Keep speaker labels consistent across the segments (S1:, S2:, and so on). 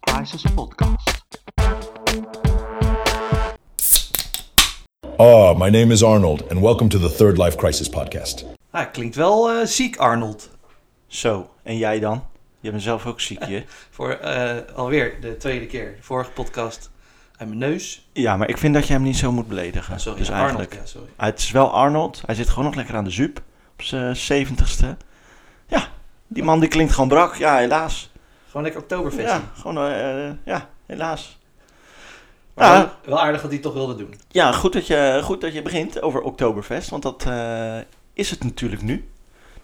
S1: Crisis Podcast.
S2: Ah, my name is Arnold, and welcome to the Third Life Crisis podcast.
S3: Ah, klinkt wel eh, ziek, Arnold.
S4: Zo, en jij dan? Je bent zelf ook ziekje.
S3: Voor eh, alweer de tweede keer. De vorige podcast uit mijn neus. Ah,
S4: ja, maar ik vind dat je hem niet zo moet beledigen.
S3: Sorry,
S4: dus
S3: Arnold.
S4: eigenlijk.
S3: Ja, sorry.
S4: Ah, het is wel Arnold. Hij zit gewoon nog lekker aan de zuip. Op zijn zeventigste. Ja, die man die klinkt gewoon brak. Ja, helaas.
S3: Gewoon lekker Oktoberfest.
S4: Ja, gewoon, eh, eh, ja, helaas.
S3: Maar
S4: Ja.
S3: wel- wel aardig dat hij het toch wilde doen.
S4: Ja, goed dat je, goed dat je begint over Oktoberfest. Want dat eh, is het natuurlijk nu.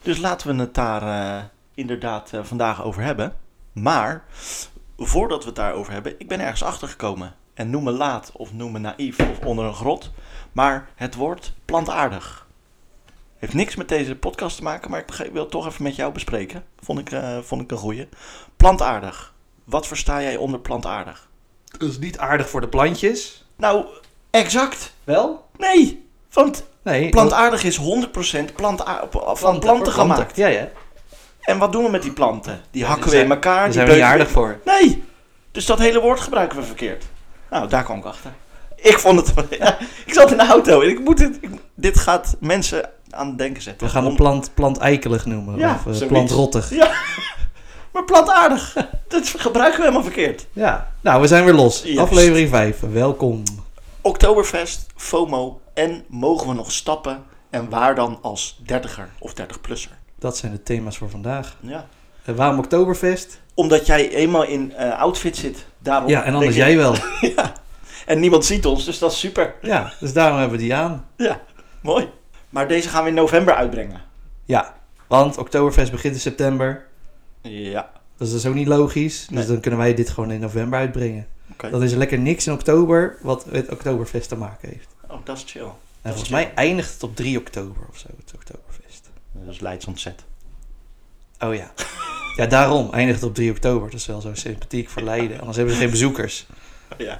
S4: Dus laten we het daar eh, inderdaad eh, vandaag over hebben. Maar voordat we het daarover hebben, ik ben ergens achter gekomen. En noem me laat of noem me naïef of onder een grot. Maar het woord plantaardig. Heeft niks met deze podcast te maken, maar ik begreep- wil het toch even met jou bespreken. Vond ik, eh, vond ik een goeie. Plantaardig. Wat versta jij onder plantaardig?
S3: Dat is niet aardig voor de plantjes.
S4: Nou, exact.
S3: Wel?
S4: Nee, want
S3: Nee.
S4: Plantaardig is 100% planta van planten
S3: voor
S4: gemaakt.
S3: Ja, ja.
S4: En wat doen we met die planten? Die hakken
S3: Dus
S4: we in
S3: daar-
S4: elkaar.
S3: Daar
S4: die
S3: zijn we niet
S4: beuken
S3: aardig voor.
S4: we- Nee! Dus dat hele woord gebruiken we verkeerd. Nou, daar kwam ik achter. Ik vond het. Ja, ik zat in de auto en ik moet dit. ik- dit gaat mensen aan het denken zetten.
S3: We gaan een
S4: Om-
S3: plant, plant eikelig noemen.
S4: Ja,
S3: of
S4: zoiets.
S3: eh, plantrottig.
S4: Maar plantaardig, dat gebruiken we helemaal verkeerd.
S3: Ja. Nou, we zijn weer los.
S4: Juist.
S3: Aflevering 5. Welkom.
S4: Oktoberfest, FOMO en mogen we nog stappen? En waar dan als 30er of 30-plusser?
S3: Dat zijn de thema's voor vandaag.
S4: Ja.
S3: En waarom Oktoberfest?
S4: Omdat jij eenmaal in eh, outfit zit. Daarom
S3: Ja, en anders
S4: Oh, denk ik-
S3: jij wel.
S4: En niemand ziet ons, dus dat is super.
S3: Ja, dus daarom hebben we die aan.
S4: Ja, mooi. Maar deze gaan we in november uitbrengen.
S3: Ja, want Oktoberfest begint in september.
S4: Ja,
S3: Dus dat is ook niet logisch. Dus
S4: Nee.
S3: dan kunnen wij dit gewoon in november uitbrengen.
S4: oké.
S3: Dan is er lekker niks in oktober wat met Oktoberfest te maken heeft.
S4: Oh, dat is chill.
S3: En volgens mij eindigt het op 3 oktober of zo, het Oktoberfest.
S4: Dat is Leids ontzet.
S3: Oh ja. Ja, daarom eindigt het op 3 oktober. Dat is wel zo sympathiek voor Leiden. Anders hebben ze geen bezoekers.
S4: Ja.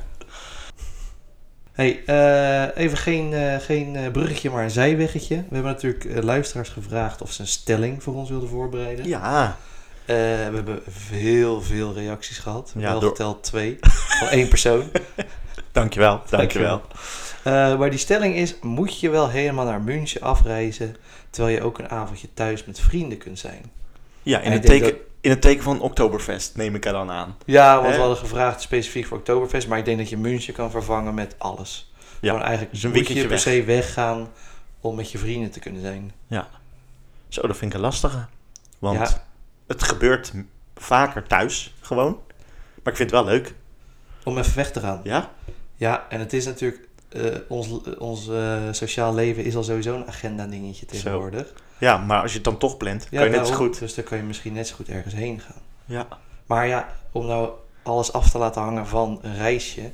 S3: hey, eh, even geen, eh, geen eh, bruggetje, maar een zijweggetje. We hebben natuurlijk eh, luisteraars gevraagd of ze een stelling voor ons wilden voorbereiden.
S4: Ja.
S3: Eh, we hebben veel, veel reacties gehad.
S4: Ja,
S3: Wel
S4: door-
S3: geteld twee. Van één persoon.
S4: Dankjewel,
S3: dankjewel. Eh, maar die stelling is: moet je wel helemaal naar München afreizen. terwijl je ook een avondje thuis met vrienden kunt zijn?
S4: Ja, in
S3: Ik
S4: het,
S3: denk
S4: teken, in het teken van Oktoberfest neem ik er dan aan.
S3: Ja, want
S4: Hè?
S3: we hadden gevraagd specifiek voor Oktoberfest. maar ik denk dat je München kan vervangen met alles.
S4: Ja,
S3: Gewoon eigenlijk
S4: dus een
S3: moet je
S4: weekendje
S3: per se weggaan. om met je vrienden te kunnen zijn.
S4: Zo, dat vind ik een lastige. Want
S3: Ja.
S4: het gebeurt m- vaker thuis, gewoon. Maar ik vind het wel leuk.
S3: Om even weg te gaan. Ja,
S4: Ja?
S3: en het is natuurlijk. eh, ons ons eh, sociaal leven is al sowieso een agenda-dingetje tegenwoordig.
S4: Ja, maar als je het dan toch plant, kan je net zo
S3: daarom.
S4: goed.
S3: Dus dan kan je misschien net zo goed ergens heen gaan.
S4: Ja.
S3: Maar ja, om nou alles af te laten hangen van een reisje.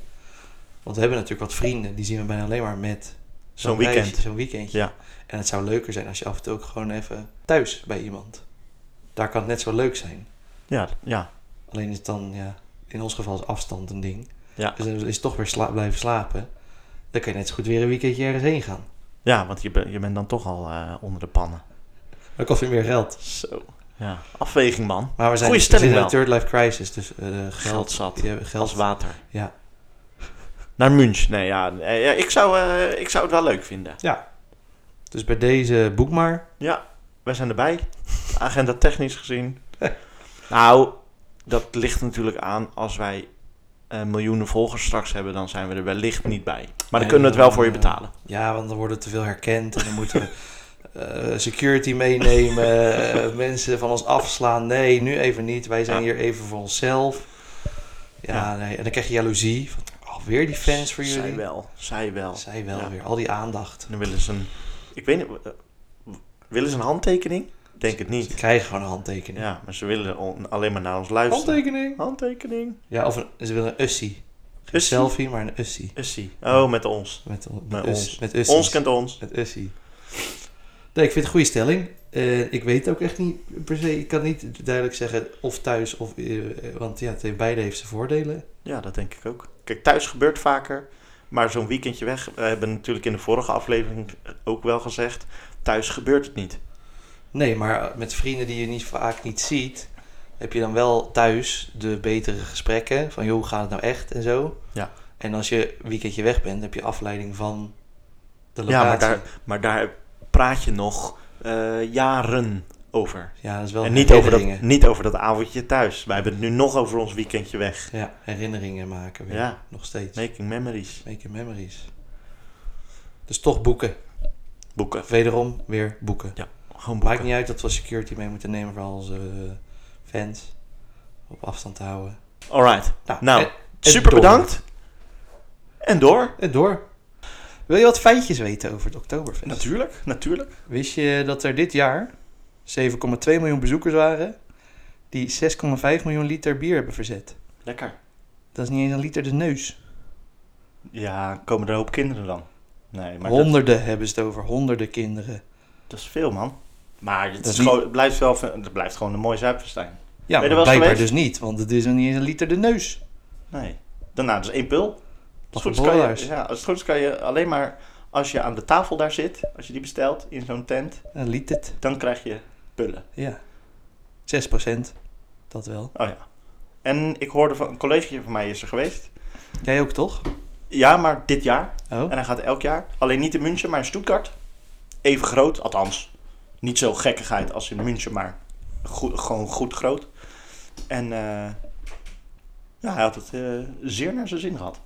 S3: Want we hebben natuurlijk wat vrienden, die zien we bijna alleen maar met
S4: Zo'n
S3: reisje,
S4: weekend.
S3: Zo'n weekendje.
S4: Ja.
S3: En het zou leuker zijn als je af en toe ook gewoon even thuis bij iemand. Daar kan het net zo leuk zijn.
S4: Ja, ja.
S3: Alleen is het dan, ja, in ons geval is afstand een ding.
S4: Ja.
S3: Dus dan is het toch weer sla- blijven slapen. Dan kan je net zo goed weer een weekendje ergens heen gaan.
S4: ja want je, ben- je bent dan toch al eh, onder de pannen.
S3: Dan kost weer meer geld.
S4: Zo. Ja. Afweging, man.
S3: Maar we zijn, dus- we
S4: Goeie stelling
S3: zitten in een
S4: wel.
S3: third life crisis, dus eh, de geld,
S4: Geld zat.
S3: Ja, geld
S4: Als water.
S3: Ja.
S4: Naar München. Nee, ja. eh, ja, ik, zou, eh, ik zou het wel leuk vinden.
S3: Dus bij deze boek maar.
S4: Wij zijn erbij. Agenda technisch gezien. nou, dat ligt natuurlijk aan als wij eh, miljoenen volgers straks hebben, dan zijn we er wellicht niet bij. Maar
S3: Nee,
S4: dan kunnen we het wel
S3: dan,
S4: voor je
S3: eh,
S4: betalen.
S3: Ja, want dan worden we te veel herkend en dan moeten we eh, security meenemen, eh, mensen van ons afslaan. Nee, nu even niet. Wij zijn
S4: Ja.
S3: hier even voor onszelf. Ja,
S4: Ja.
S3: Nee. en dan krijg je jaloezie. Van, oh, weer die fans voor jullie.
S4: Zij wel. Zij wel.
S3: Zij wel
S4: Ja.
S3: weer, al die aandacht.
S4: Dan willen ze een... Ik weet niet... eh, willen ze een handtekening? Ik Denk het
S3: Ze
S4: niet.
S3: krijgen gewoon een handtekening.
S4: Ja, maar ze willen on- alleen maar naar ons luisteren.
S3: handtekening?
S4: Handtekening.
S3: Ja, of een, ze willen een ussie. Geen
S4: Ussie?
S3: selfie, maar een ussie.
S4: Ussie. Oh, met ons.
S3: Met, met,
S4: Met
S3: us-
S4: ons.
S3: Met ussies.
S4: Ons kent ons.
S3: Het Ussie. Nee, ik vind het een goede stelling. Eh, ik weet ook echt niet per se. Ik kan niet duidelijk zeggen of thuis of. eh, eh, want ja, het heeft, beide heeft zijn voordelen.
S4: Ja, dat denk ik ook. Kijk, thuis gebeurt vaker, maar zo'n weekendje weg, we hebben natuurlijk in de vorige aflevering ook wel gezegd, thuis gebeurt het niet.
S3: Nee, maar met vrienden die je niet vaak niet ziet. heb je dan wel thuis de betere gesprekken. Van joh, hoe gaat het nou echt en zo.
S4: Ja.
S3: En als je een weekendje weg bent, heb je afleiding van de locatie.
S4: Ja, maar daar, maar daar praat je nog eh, jaren over.
S3: Ja, dat is wel
S4: En niet over, dat,
S3: herinneringen.
S4: niet over dat avondje thuis. Wij hebben het nu nog over ons weekendje weg.
S3: Ja, herinneringen maken weer.
S4: Ja.
S3: Nog steeds.
S4: Making memories.
S3: Making memories. Dus toch boeken.
S4: Boeken.
S3: Wederom weer boeken.
S4: Gewoon
S3: Maakt
S4: boeken.
S3: niet uit dat we security mee moeten nemen voor al onze eh, fans. Op afstand te houden.
S4: Alright. Nou,
S3: en- en
S4: super
S3: door.
S4: bedankt. En door.
S3: En door. Wil je wat feitjes weten over het Oktoberfest?
S4: Natuurlijk, natuurlijk.
S3: Wist je dat er dit jaar 7,2 miljoen bezoekers waren die 6,5 miljoen liter bier hebben verzet?
S4: Lekker.
S3: Dat is niet eens een liter de neus.
S4: Ja, komen er een hoop kinderen dan? Nee, maar dat,
S3: honderden hebben ze het over, honderden kinderen.
S4: dat is veel, man. Maar het,
S3: Dat
S4: is
S3: is
S4: gewoon, het, blijft, wel, het blijft gewoon een mooi zuipfestijn.
S3: Ja,
S4: je er
S3: maar
S4: wel eens
S3: blijkbaar
S4: geweest?
S3: dus niet, want het is nog niet eens een liter de neus.
S4: Nee. Daarna, dus één pul.
S3: Lachen
S4: Als het, goed is kan je,
S3: borrelaars.
S4: ja, als het goed is kan je alleen maar als je aan de tafel daar zit, als je die bestelt in zo'n tent,
S3: Een liter,
S4: dan krijg je pullen.
S3: ja. 6%, dat wel.
S4: Oh ja. En ik hoorde van een collega van mij is er geweest.
S3: Jij ook toch?
S4: Ja, maar dit jaar.
S3: Oh,
S4: En hij gaat elk jaar. Alleen niet in München, maar in Stuttgart. Even groot, althans. Niet zo gekkigheid als in München, maar goed, gewoon goed groot. En eh, ja, hij had het eh, zeer naar zijn zin gehad.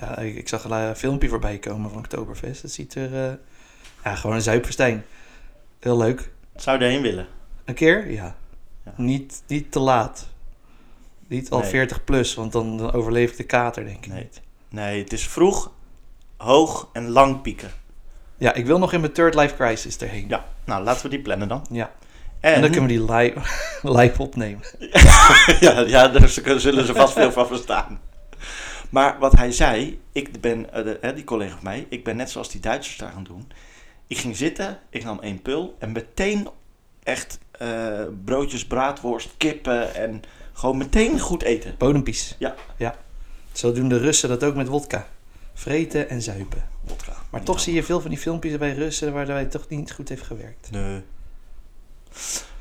S3: ja, ik, ik zag een eh, filmpje voorbij komen van Oktoberfest. Het ziet er, eh, ja, gewoon een zuipverstijn. Heel leuk.
S4: Zou je erheen willen?
S3: Een keer? Ja.
S4: Ja.
S3: Niet, niet te laat. Niet al
S4: Nee.
S3: 40 plus, want dan, dan overleef ik de kater, denk ik.
S4: Nee. Nee, het is vroeg, hoog en lang pieken.
S3: Ja, ik wil nog in mijn Third Life Crisis erheen.
S4: Ja, nou laten we die plannen dan.
S3: Ja.
S4: En,
S3: En, dan kunnen we die live, live opnemen.
S4: ja, ja, daar z- zullen ze vast veel van verstaan. Maar wat hij zei, ik ben, eh, de- hè, die collega van mij, ik ben net zoals die Duitsers daar gaan doen. Ik ging zitten, ik nam één pul en meteen echt eh, broodjes, braadworst, kippen en gewoon meteen goed eten.
S3: Bodempies.
S4: Ja.
S3: ja. Zo doen de Russen dat ook met wodka. Vreten en zuipen.
S4: Wodka.
S3: Maar toch zie je veel van die filmpjes bij Russen waar het toch niet goed heeft gewerkt.
S4: Nee.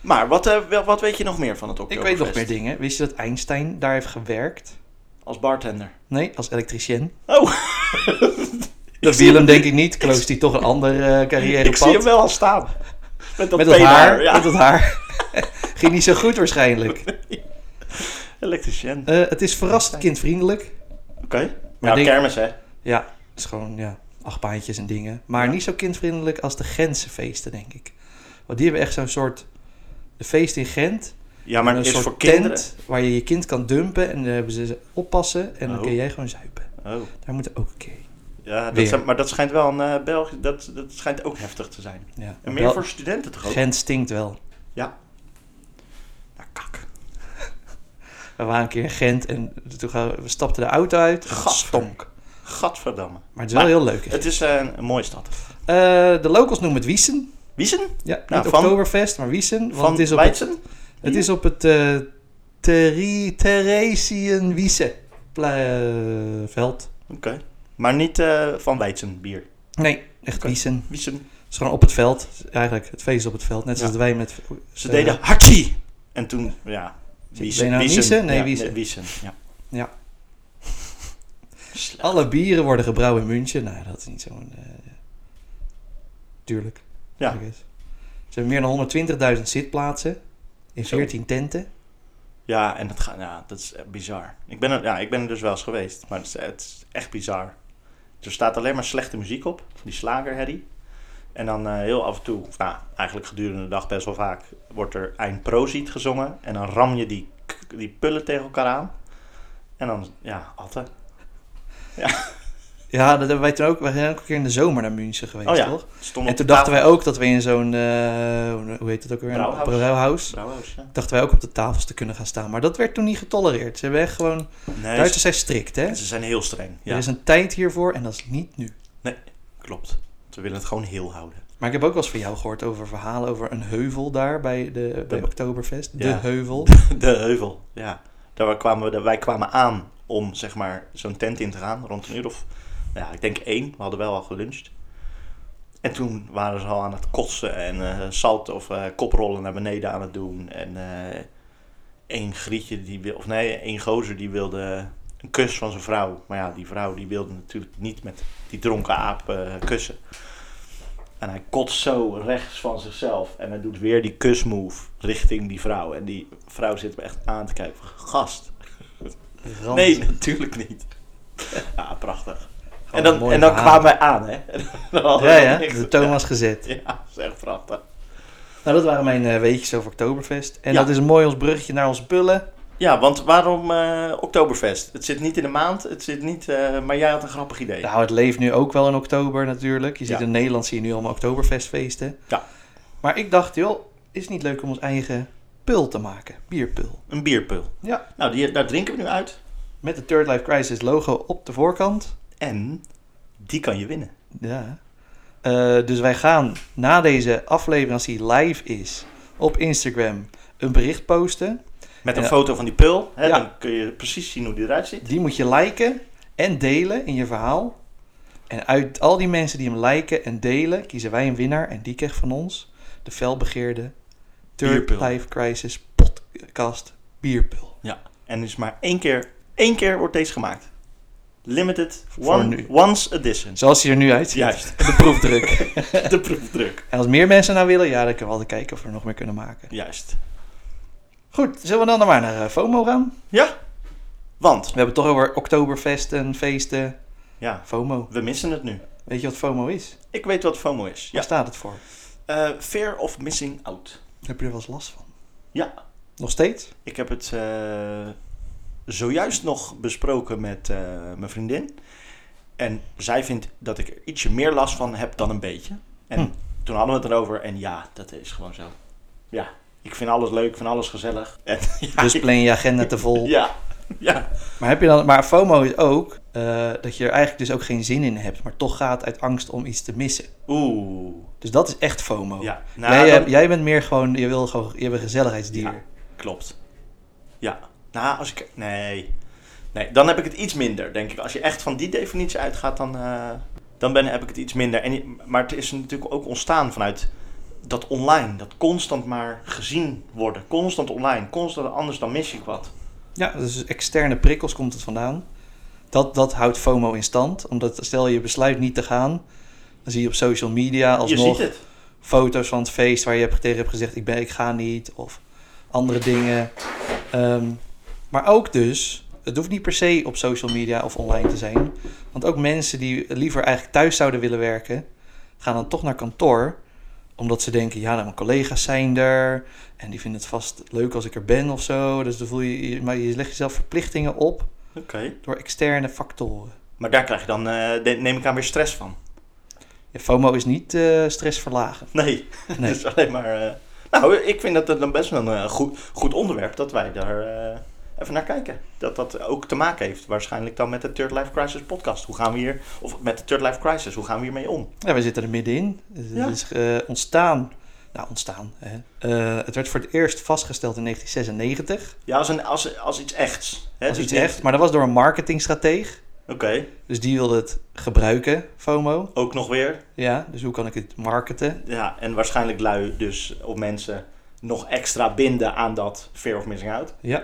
S4: Maar wat, eh, wel- wat weet je nog meer van het
S3: Ik
S4: Oktoberfest?
S3: weet nog meer dingen. Wist je dat Einstein daar heeft gewerkt?
S4: Als bartender.
S3: Nee, als elektricien.
S4: Oh!
S3: Dat viel hem denk ik niet. Kloos die toch een ander eh carrière
S4: Ik zie hem wel al staan. Met dat,
S3: met dat
S4: peenhaar,
S3: haar.
S4: ja.
S3: Met dat haar. Ging niet zo goed waarschijnlijk.
S4: Elektricien. Oké.
S3: Eh, het is verrast kindvriendelijk.
S4: Ja,
S3: denk-
S4: kermis hè.
S3: Ja, het is gewoon ja, achtbaantjes en dingen. Maar niet zo kindvriendelijk als de Gentse feesten, denk ik. Want die hebben echt zo'n soort... De feest in Gent.
S4: Ja, maar
S3: een
S4: het is
S3: soort
S4: voor
S3: tent
S4: kinderen.
S3: waar je je kind kan dumpen. En dan hebben ze ze oppassen. En
S4: Oh.
S3: dan kun jij gewoon zuipen.
S4: Oh,
S3: Daar moeten ook een keer heen.
S4: ja, dat
S3: Weer.
S4: zijn- maar dat schijnt wel een eh, België, dat, dat schijnt ook heftig te zijn.
S3: Ja.
S4: En meer
S3: Wel-
S4: voor studenten toch ook?
S3: Gent stinkt wel.
S4: Ja. Ja, kak.
S3: We waren een keer in Gent en toen gaan, we stapten de auto uit. en het
S4: Gadver.
S3: stonk.
S4: Gadverdamme.
S3: Maar het is wel
S4: Maar
S3: heel leuk.
S4: Het is eh, een, een mooie stad.
S3: Eh, de locals noemen het Wiesen.
S4: Wiesen?
S3: Ja,
S4: Nou,
S3: niet
S4: van-
S3: Oktoberfest, maar Wiesen. Want
S4: Van
S3: het is op het,
S4: Leidsen?
S3: het, is op het eh Theri- Theresienwiese pla- eh, veld.
S4: Oké. Maar niet eh, van Leidsen bier.
S3: Nee, echt
S4: Oké.
S3: Wiesen.
S4: Wiesen.
S3: Het is gewoon op het veld. Eigenlijk, het feest is op het veld. Net zoals
S4: Ja.
S3: wij met...
S4: Ze
S3: eh,
S4: deden hakkie. En toen, ja.
S3: Ben je nou Wiesen? Nee,
S4: Ja,
S3: Wiesen.
S4: ja.
S3: Ja.
S4: Slecht.
S3: Alle bieren worden gebrouwen in München. Nou, dat is niet zo'n... eh, tuurlijk.
S4: Ja.
S3: I guess. Ze hebben meer dan 120.000 zitplaatsen. In
S4: Zo.
S3: 14 tenten.
S4: Ja, en dat, gaat, ja, dat is echt bizar. Ik ben, er, ja, ik ben er dus wel eens geweest, maar het is, het is echt bizar. Dus Er staat alleen maar slechte muziek op, die slagerherrie. En dan eh, heel af en toe, of nou, eigenlijk gedurende de dag best wel vaak, wordt er eindproziet gezongen. En dan ram je die, k- die pullen tegen elkaar aan. En dan, ja, atten.
S3: Ja, dat hebben wij toen ook. Wij zijn ook een keer in de zomer naar München geweest,
S4: Oh ja,
S3: toch?
S4: Stond
S3: En toen dachten wij ook dat we in zo'n, eh, hoe- hoe heet dat ook weer? Een
S4: Brouwhaus.
S3: Brouwhaus.
S4: Trouwens, ja.
S3: Dachten wij ook op de tafels te kunnen gaan staan. Maar dat werd toen niet getolereerd. Ze hebben echt gewoon...
S4: Nee,
S3: Duitsers
S4: ze,
S3: zijn strikt, hè?
S4: ze zijn heel streng.
S3: Er
S4: Ja,
S3: is een tijd hiervoor en dat is niet nu.
S4: klopt. Ze willen het gewoon heel houden.
S3: Maar ik heb ook wel eens van jou gehoord over verhalen over een heuvel daar bij, de, bij
S4: De-
S3: Oktoberfest. De
S4: Ja.
S3: heuvel.
S4: De heuvel, ja. Daar kwamen we, wij kwamen aan om zeg maar zo'n tent in te gaan rond een uur of, nou ja, ik denk één. We hadden wel al geluncht. En toen waren ze al aan het kotsen en eh, zalt of eh, koprollen naar beneden aan het doen. En eh, één grietje, die, wil- of nee, één gozer die wilde een kus van zijn vrouw. Maar ja, die vrouw die wilde natuurlijk niet met die dronken aap eh, kussen. En hij kotst zo rechts van zichzelf. En hij doet weer die kusmove richting die vrouw. En die vrouw zit me echt aan te kijken. van, Gast.
S3: Rand.
S4: Nee, natuurlijk niet. Ja, prachtig.
S3: Gewoon
S4: En
S3: een
S4: dan,
S3: mooi
S4: en dan
S3: verhaal.
S4: kwamen wij aan, hè? En dan hadden
S3: Ja,
S4: we
S3: ja,
S4: niks.
S3: de toon was gezet.
S4: Ja, dat is echt prachtig.
S3: Nou, dat waren mijn eh, weetjes over Oktoberfest. En
S4: Ja.
S3: dat is mooi als bruggetje naar onze bullen.
S4: Ja, want waarom eh Oktoberfest? Het zit niet in de maand, het zit niet, eh, maar jij had een grappig idee.
S3: Nou, het leeft nu ook wel in oktober natuurlijk. Je ziet
S4: Ja.
S3: in Nederland zie je nu allemaal Oktoberfestfeesten.
S4: Ja.
S3: Maar ik dacht, joh, is het niet leuk om ons eigen pul te maken? Bierpul.
S4: Een bierpul.
S3: Ja.
S4: Nou, die, daar drinken we nu uit.
S3: Met de Third Life Crisis logo op de voorkant.
S4: En die kan je winnen.
S3: Ja. Eh, dus wij gaan na deze aflevering, als die live is, op Instagram een bericht posten.
S4: Met een
S3: Ja.
S4: foto van die pul. Hè,
S3: Ja.
S4: Dan kun je precies zien hoe die eruit ziet.
S3: Die moet je liken en delen in je verhaal. En uit al die mensen die hem liken en delen, kiezen wij een winnaar. En die krijgt van ons de felbegeerde Third
S4: Bierpul.
S3: Life Crisis podcast bierpul.
S4: Ja. En dus maar één keer, één keer wordt deze gemaakt. Limited,
S3: Voor nu.
S4: one, once edition.
S3: Zoals hij er nu uitziet.
S4: Juist,
S3: De proefdruk.
S4: de proefdruk.
S3: en als meer mensen nou willen, ja, dan kunnen we altijd kijken of we er nog meer kunnen maken.
S4: Juist.
S3: Goed, zullen we dan dan maar naar eh, FOMO gaan?
S4: Ja, want
S3: We hebben het toch over oktoberfesten, feesten.
S4: ja,
S3: FOMO.
S4: we missen het nu.
S3: Weet je wat FOMO is?
S4: Ik weet wat FOMO is.
S3: Waar
S4: Ja.
S3: staat het voor?
S4: Eh, fear of missing out.
S3: Heb je er wel eens last van?
S4: Ja,
S3: Nog steeds?
S4: Ik heb het eh, zojuist nog besproken met eh, mijn vriendin. En zij vindt dat ik er ietsje meer last van heb dan een beetje. En
S3: Hm.
S4: toen hadden we het erover. En ja, dat is gewoon zo. Ja, ik vind alles leuk, ik vind alles gezellig. En, ja,
S3: Dus
S4: ik-
S3: plan je agenda te vol.
S4: Ja, ja,
S3: Maar, heb je dan, maar FOMO is ook eh, dat je er eigenlijk dus ook geen zin in hebt, maar toch gaat uit angst om iets te missen.
S4: oeh.
S3: Dus dat is echt FOMO.
S4: Ja, Nou,
S3: jij,
S4: dan-
S3: hebt- jij bent meer gewoon, je wil gewoon, je bent een gezelligheidsdier.
S4: Ja, klopt. Ja. Nou, als ik... Nee. Nee, dan heb ik het iets minder, denk ik. Als je echt van die definitie uitgaat, dan, eh, dan ben, heb ik het iets minder. En, je- maar het is natuurlijk ook ontstaan vanuit dat online. Dat constant maar gezien worden. Constant online. Constant anders, dan mis ik wat.
S3: Ja, dus externe prikkels komt het vandaan. Dat, dat houdt FOMO in stand, omdat stel je besluit niet te gaan, dan zie je op social media
S4: je ziet
S3: alsnog
S4: het.
S3: foto's van het feest waar je hebt- tegen hebt gezegd ik, ben, ik ga niet of andere dingen. Ehm, maar ook dus, het hoeft niet per se op social media of online te zijn. Want ook mensen die liever eigenlijk thuis zouden willen werken, gaan dan toch naar kantoor. Omdat ze denken, ja, nou, mijn collega's zijn er. En die vinden het vast leuk als ik er ben of zo. Dus dan voel je, je- maar je legt jezelf verplichtingen op
S4: Oké.
S3: door externe factoren.
S4: Maar daar krijg je dan, eh, de- neem ik aan, weer stress van.
S3: Ja, FOMO is niet eh stressverlagend.
S4: Nee.
S3: Nee.
S4: dus alleen maar... eh, nou, ik vind dat het dan best wel een eh, goed, goed onderwerp dat wij daar eh, even naar kijken. Dat dat ook te maken heeft waarschijnlijk dan met de Third Life Crisis podcast. Hoe gaan we hier... Of met de Third Life Crisis, hoe gaan we hiermee om?
S3: Ja, we zitten er middenin. Het
S4: Ja.
S3: is eh, ontstaan. Nou, ontstaan. Hè. Eh, het werd voor het eerst vastgesteld in 1996.
S4: Ja, als, een, als, als iets echts. Hè?
S3: Dat is
S4: Dus
S3: iets
S4: niet-
S3: echt. Maar dat was door een marketingstrateeg.
S4: Oké,
S3: Dus die wilde het gebruiken, FOMO.
S4: ook nog weer.
S3: Ja, dus hoe kan ik het marketen?
S4: Ja, en waarschijnlijk lui dus op mensen nog extra binden aan dat fear of missing out.
S3: Ja.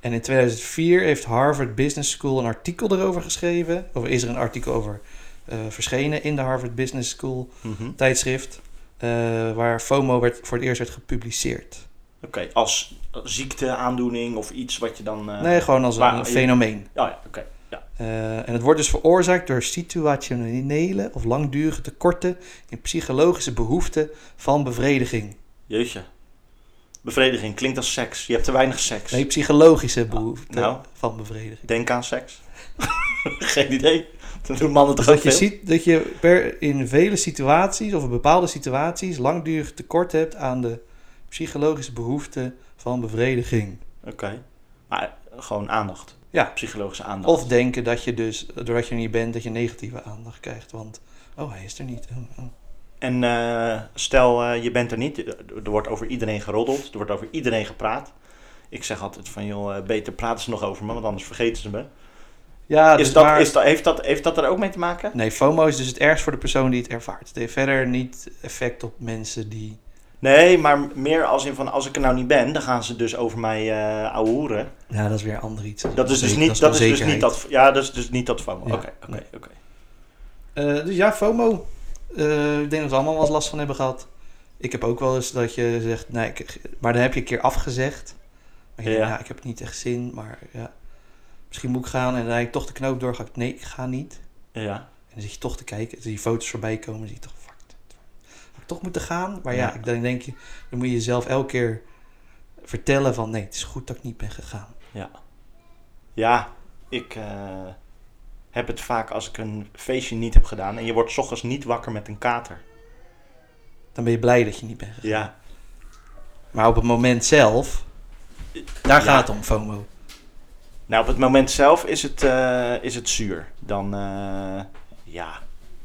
S3: En in 2004 heeft Harvard Business School een artikel erover geschreven. Of is er een artikel over eh, verschenen in de Harvard Business School
S4: Mhm.
S3: tijdschrift. eh, waar FOMO werd, voor het eerst werd gepubliceerd.
S4: Oké, als ziekteaandoening of iets wat je dan... eh,
S3: Nee, gewoon als
S4: maar
S3: een
S4: je-
S3: fenomeen.
S4: Oh ja, oké.
S3: Eh, en het wordt dus veroorzaakt door situationele of langdurige tekorten in psychologische behoeften van bevrediging.
S4: Jeetje. Bevrediging klinkt als seks. Je hebt te weinig seks.
S3: Nee, psychologische behoeften
S4: nou.
S3: van bevrediging.
S4: Denk aan seks. Geen idee. Dat doen mannen
S3: Dus
S4: toch
S3: dat
S4: ook
S3: je
S4: veel?
S3: ziet dat je per, in vele situaties of in bepaalde situaties langdurig tekort hebt aan de psychologische behoeften van bevrediging.
S4: Oké. Maar eh, gewoon aandacht.
S3: Ja.
S4: Psychologische aandacht.
S3: Of denken dat je dus, doordat je er niet bent, dat je negatieve aandacht krijgt. Want, oh, hij is er niet. Oh, oh.
S4: En eh, stel, eh, je bent er niet. Er wordt over iedereen geroddeld. Er wordt over iedereen gepraat. Ik zeg altijd van, joh, eh, beter praten ze nog over me, want anders vergeten ze me.
S3: Ja,
S4: is
S3: dus
S4: dat,
S3: maar-
S4: is dat, heeft, dat, heeft dat er ook mee te maken?
S3: Nee, FOMO is dus het ergst voor de persoon die het ervaart. Het heeft verder niet effect op mensen die
S4: Nee, maar meer als in van als ik er nou niet ben, dan gaan ze dus over mij eh ouwehoeren.
S3: Ja, dat is weer ander iets.
S4: Dat is dus
S3: Zeker-
S4: niet dat is dus
S3: onzekerheid.
S4: niet dat ja, dat is dus niet dat FOMO.
S3: Ja.
S4: Oké, oké,
S3: Nee.
S4: oké.
S3: Eh, dus ja, FOMO. Eh, ik denk dat we allemaal wel eens last van hebben gehad. Ik heb ook wel eens dat je zegt, nee, ik, maar dan heb je een keer afgezegd. Maar je denkt,
S4: Ja.
S3: ja, ik heb niet echt zin, maar ja, misschien moet ik gaan. En dan rijd ik toch de knoop door, ga ik, nee, ik ga niet.
S4: Ja.
S3: En dan zit je toch te kijken, dan zie je foto's voorbij komen, dan zie je toch, fuck, dit- had ik toch moeten gaan. Maar ja,
S4: Ja.
S3: ik- dan denk je, dan moet je jezelf elke keer vertellen van, nee, het is goed dat ik niet ben gegaan.
S4: Ja, ik eh, heb het vaak als ik een feestje niet heb gedaan en je wordt 's ochtends niet wakker met een kater.
S3: Dan ben je blij dat je niet bent gegaan.
S4: Ja.
S3: Maar op het moment zelf, daar
S4: Ja.
S3: gaat het om, FOMO.
S4: Nou, op het moment zelf is het, eh, is het zuur. Dan, eh, ja.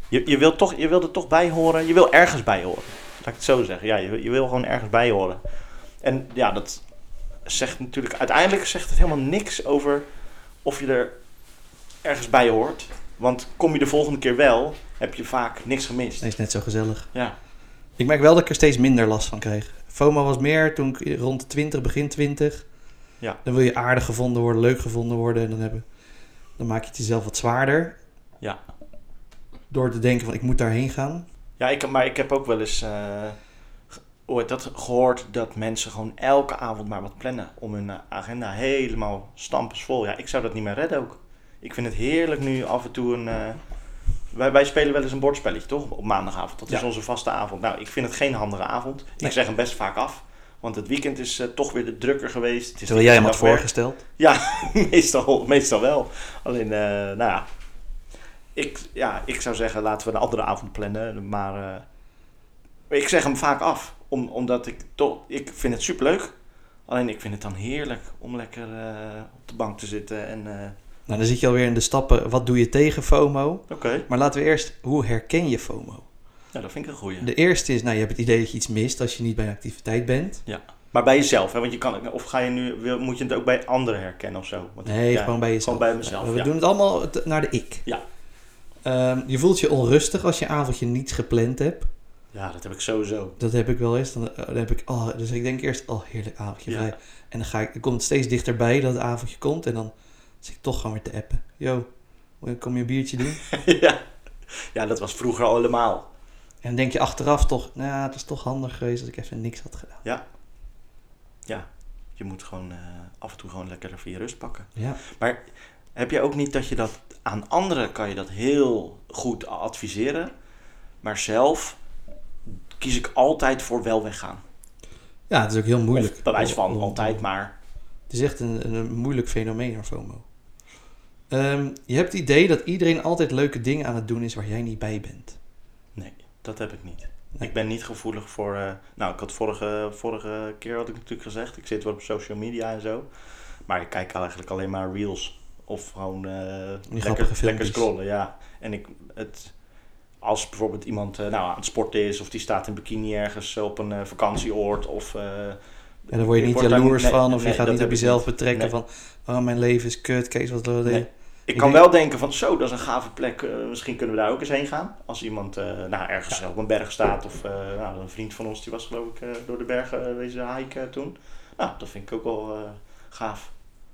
S4: Je, je, wilt toch, je wil er toch bij horen. Je wil ergens bij horen. Laat ik het zo zeggen. Ja, je, je wil gewoon ergens bij horen. En ja, dat zegt natuurlijk... Uiteindelijk zegt het helemaal niks over of je er ergens bij hoort. Want kom je de volgende keer wel, heb je vaak niks gemist.
S3: Dat is net zo gezellig.
S4: Ja.
S3: Ik merk wel dat ik er steeds minder last van kreeg. FOMO was meer toen ik rond de 20, begin 20.
S4: Ja.
S3: Dan wil je aardig gevonden worden, leuk gevonden worden. En dan, hebben, dan maak je het jezelf wat zwaarder.
S4: Ja.
S3: Door te denken van ik moet daarheen gaan.
S4: Ja, ik, maar ik heb ook wel eens eh, ge- hoe heet dat, gehoord dat mensen gewoon elke avond maar wat plannen om hun eh, agenda helemaal stampensvol. Ja, ik zou dat niet meer redden ook. Ik vind het heerlijk nu af en toe een... eh, wij, wij spelen wel eens een bordspelletje, toch? Op maandagavond. Dat is
S3: Ja.
S4: onze vaste avond. Nou, ik vind het geen handige avond.
S3: Nee.
S4: Ik zeg hem best vaak af. Want het weekend is eh, toch weer de drukker geweest. Het is
S3: Terwijl
S4: de
S3: jij hem
S4: dag
S3: had
S4: werk.
S3: voorgesteld.
S4: Ja, meestal, meestal wel. Alleen, eh, nou ja. Ik, ja. ik zou zeggen, laten we een andere avond plannen. Maar eh, ik zeg hem vaak af. Om, omdat ik toch... Ik vind het superleuk. Alleen ik vind het dan heerlijk om lekker eh, op de bank te zitten. En, eh,
S3: Nou, dan zit je alweer in de stappen. Wat doe je tegen FOMO?
S4: Oké.
S3: Maar laten we eerst, hoe herken je FOMO?
S4: Ja, dat vind ik een goeie.
S3: De eerste is, nou, je hebt het idee dat je iets mist als je niet bij een activiteit bent.
S4: Maar bij jezelf, hè? Want je kan... het- Of ga je nu... wil- Moet je het ook bij anderen herkennen of zo? Want,
S3: Nee,
S4: ja,
S3: gewoon bij jezelf.
S4: Gewoon bij mezelf,
S3: we
S4: ja.
S3: doen het allemaal t- naar de ik.
S4: Ja.
S3: Ehm, je voelt je onrustig als je een avondje niet gepland hebt.
S4: Ja, dat heb ik sowieso.
S3: Dat heb ik wel eens. Dan, eh, dan heb ik, oh, dus ik denk eerst, oh, heerlijk avondje
S4: Ja.
S3: vrij. En dan, ga ik, dan komt het steeds dichterbij dat het avondje komt. En dan zit ik toch gewoon weer te appen. Yo, wil je- kom je een biertje doen?
S4: ja. ja, dat was vroeger al helemaal.
S3: en dan denk je achteraf toch, nou, het is toch handig geweest dat ik even niks had gedaan.
S4: Je moet gewoon eh, af en toe gewoon lekker even je rust pakken.
S3: Ja.
S4: Maar heb je ook niet dat je dat aan anderen kan je dat heel goed adviseren, maar zelf kies ik altijd voor wel weggaan.
S3: ja, het is ook heel moeilijk.
S4: Of bij wijze
S3: Om-
S4: van
S3: om-
S4: altijd maar.
S3: Het is echt een, een, een moeilijk fenomeen, hoor, FOMO. Ehm, je hebt het idee dat iedereen altijd leuke dingen aan het doen is waar jij niet bij bent.
S4: Nee, dat heb ik niet.
S3: Nee.
S4: Ik ben niet gevoelig voor. eh, nou, ik had vorige, vorige keer had ik natuurlijk gezegd, ik zit wel op social media en zo, maar ik kijk eigenlijk alleen maar reels of gewoon eh, lekker,
S3: grappige
S4: lekker
S3: filmpjes.
S4: scrollen, ja. En ik het als bijvoorbeeld iemand eh, nou, aan het sporten is of die staat in bikini ergens op een eh, vakantieoord of eh,
S3: En daar word je
S4: Ik
S3: niet
S4: word daar
S3: jaloers
S4: niet- nee,
S3: van of
S4: nee,
S3: je gaat
S4: dat
S3: niet op
S4: heb ik
S3: jezelf
S4: niet.
S3: betrekken
S4: Nee.
S3: van, oh, mijn leven is kut, Kees, wat wil
S4: Nee.
S3: je?
S4: Ik
S3: Ik
S4: kan
S3: denk-
S4: wel denken van zo, dat is een gave plek. eh, misschien kunnen we daar ook eens heen gaan. Als iemand eh, nou, ergens op een berg staat. Of eh, nou, een vriend van ons die was geloof ik eh, door de bergen eh, wezen hiken toen. Nou, dat vind ik ook wel eh, gaaf.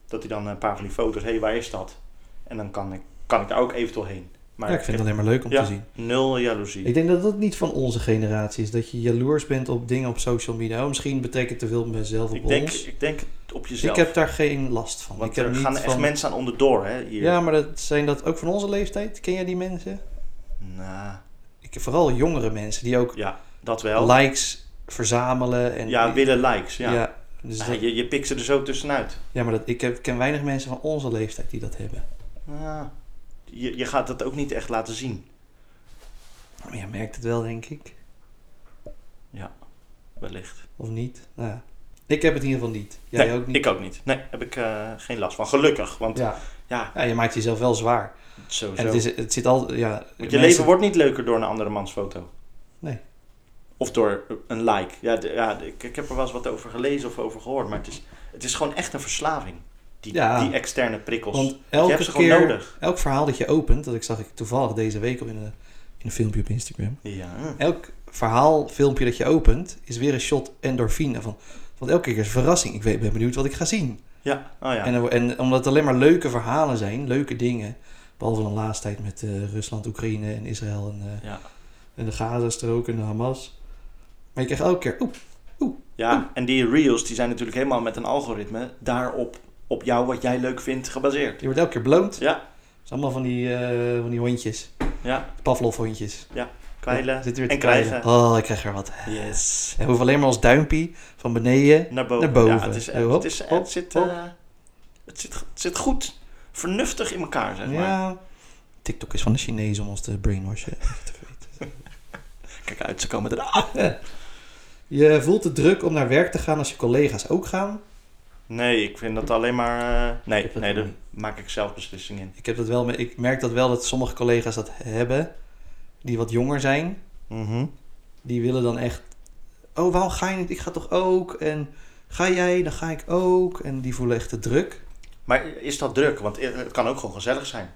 S4: Dat hij dan een paar van die foto's, hé, hey, waar is dat? En dan kan ik, kan ik daar ook eventueel heen. Maar
S3: Ja, ik vind het
S4: heb
S3: alleen maar leuk om
S4: Ja.
S3: te zien.
S4: nul jaloezie.
S3: Ik denk dat dat niet van onze generatie is. Dat je jaloers bent op dingen op social media. Oh, misschien betrek ik te veel mezelf op
S4: Ik denk,
S3: ons.
S4: ik denk het op
S3: Ik
S4: jezelf.
S3: heb daar geen last van.
S4: Want
S3: ik heb
S4: er
S3: niet
S4: gaan echt
S3: van...
S4: mensen aan onderdoor, hè, hier.
S3: Ja, maar dat, zijn dat ook van onze leeftijd? Ken jij die mensen?
S4: Nou,
S3: Ik, vooral jongere mensen die ook
S4: ja, dat wel.
S3: likes verzamelen. En
S4: ja,
S3: die-
S4: willen likes, ja.
S3: ja, dus
S4: Ah,
S3: dat-
S4: je, je pikt ze er zo tussenuit.
S3: ja, maar dat, ik heb, ken weinig mensen van onze leeftijd die dat hebben.
S4: Ja, je, je gaat dat ook niet echt laten zien.
S3: Maar je merkt het wel, denk ik.
S4: Wellicht.
S3: Of niet? Nou, ja. ik heb het in ieder geval niet. Jij
S4: nee,
S3: ook niet?
S4: Ik ook niet. Nee, heb ik eh, geen last van. Gelukkig. Want ja,
S3: Ja. ja, je maakt jezelf wel zwaar.
S4: sowieso.
S3: En het, is, het zit al... Ja,
S4: want je
S3: mensen-
S4: leven wordt niet leuker door een andere mans foto.
S3: Nee.
S4: Of door een like. Ja, de- ja de- ik, ik heb er wel eens wat over gelezen of over gehoord. Maar het is, het is gewoon echt een verslaving. Die,
S3: Ja.
S4: die externe prikkels.
S3: Want
S4: je
S3: elke
S4: hebt ze gewoon
S3: keer,
S4: nodig.
S3: elk verhaal dat je opent, dat ik zag ik toevallig deze week al in een, in een filmpje op Instagram.
S4: Ja.
S3: Elk verhaalfilmpje dat je opent, is weer een shot endorfine. Van, want elke keer is verrassing. Ik weet, ben benieuwd wat ik ga zien.
S4: Ja, oh ja.
S3: En, er- en omdat het alleen maar leuke verhalen zijn, leuke dingen. Behalve dan de laatste tijd met eh, Rusland, Oekraïne en Israël en, eh,
S4: Ja.
S3: en de Gazastrook en de Hamas. Maar je krijgt elke keer, oep,
S4: ja, en die reels die zijn natuurlijk helemaal met een algoritme daarop, op jou, wat jij leuk vindt, gebaseerd.
S3: je wordt elke keer bloond.
S4: Ja,
S3: Het is allemaal van die, eh, van die hondjes,
S4: ja,
S3: Pavlov-hondjes.
S4: kwijlen.
S3: Zitten
S4: en
S3: te kwijlen.
S4: krijgen.
S3: Oh, ik krijg er wat.
S4: Yes.
S3: En we hoeven alleen maar ons duimpje van beneden.
S4: Naar boven.
S3: Naar boven.
S4: Ja, het, is,
S3: Hop,
S4: het, is,
S3: hop,
S4: het, zit,
S3: hop.
S4: eh, het, zit, het zit goed, vernuftig in elkaar, zeg maar.
S3: Ja. TikTok is van de Chinezen om ons te brainwashen. even te weten.
S4: Kijk uit, ze komen
S3: Ah!
S4: eraan.
S3: Je voelt de druk om naar werk te gaan als je collega's ook gaan.
S4: Nee, ik vind dat alleen maar... eh, nee,
S3: heb dat
S4: nee,
S3: ook
S4: daar
S3: niet.
S4: maak ik zelf beslissing in.
S3: Ik, heb dat wel, me- ik merk dat wel dat sommige collega's dat hebben. Die wat jonger zijn.
S4: Mhm.
S3: Die willen dan echt... Oh, waarom ga je niet? Ik ga toch ook? En ga jij? Dan ga ik ook. En die voelen echt de druk.
S4: Maar is dat druk? Want het kan ook gewoon gezellig zijn.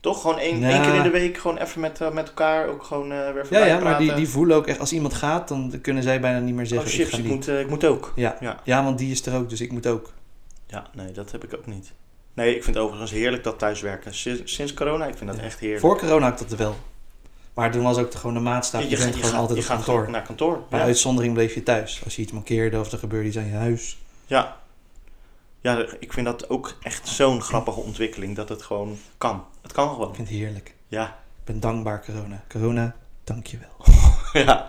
S4: Toch? Gewoon één,
S3: Ja.
S4: één keer in de week gewoon even met, eh, met elkaar ook gewoon eh, weer
S3: Ja,
S4: voorbij
S3: ja maar
S4: praten.
S3: die, die voelen ook echt... Als iemand gaat, dan kunnen zij bijna niet meer
S4: oh
S3: zeggen...
S4: shit,
S3: ik ga
S4: ik,
S3: niet.
S4: moet, eh, ik moet ook.
S3: Ja.
S4: Ja.
S3: ja, want die is er ook, dus ik moet ook.
S4: Ja, nee, dat heb ik ook niet. Nee, ik vind het overigens heerlijk dat thuiswerken. Sinds, sinds corona, ik vind dat
S3: Ja.
S4: echt heerlijk.
S3: Voor corona had ik dat wel. Maar toen was ook de- gewoon de maatstaf. Je, bent
S4: gaat-
S3: gewoon
S4: gaat-
S3: altijd
S4: je
S3: op
S4: gaat
S3: kantoor.
S4: gewoon naar kantoor.
S3: Bij
S4: Ja.
S3: uitzondering bleef je thuis. Als je iets mankeerde of er gebeurde iets aan je huis.
S4: Ja. ja, ik vind dat ook echt zo'n grappige ontwikkeling dat het gewoon kan. Het kan
S3: Ik
S4: gewoon.
S3: vind het heerlijk.
S4: Ja.
S3: Ik ben dankbaar, corona. Corona, dank je wel.
S4: ja.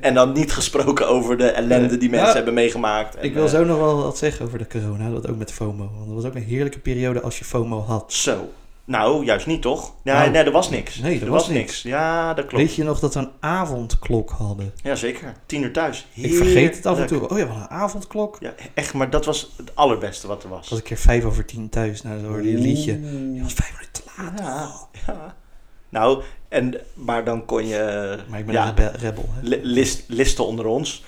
S4: En dan niet gesproken over de ellende die
S3: Ja.
S4: mensen hebben meegemaakt. En,
S3: ik wil
S4: eh,
S3: zo nog wel wat zeggen over de corona. Dat ook met FOMO. Want dat was ook een heerlijke periode als je FOMO had.
S4: Zo. Nou, juist niet toch? Ja,
S3: Nou.
S4: nee, er was niks.
S3: Nee, er
S4: er
S3: was
S4: was niks. Ja, dat klopt.
S3: Weet je nog dat we een avondklok hadden?
S4: Ja, zeker. Tien uur thuis.
S3: Ik vergeet het af en
S4: Heerlijk.
S3: toe. Oh ja, we hadden een avondklok.
S4: Ja, echt, maar dat was het allerbeste wat er was.
S3: Was ik keer vijf over tien thuis. Nou, dan hoorde je een liedje.
S4: Oeh.
S3: Je was vijf minuten te laat.
S4: Ja, ja. Nou, en, maar dan kon je...
S3: Maar ik ben
S4: ja,
S3: een rebe- rebel. Hè?
S4: li- list, listen onder ons.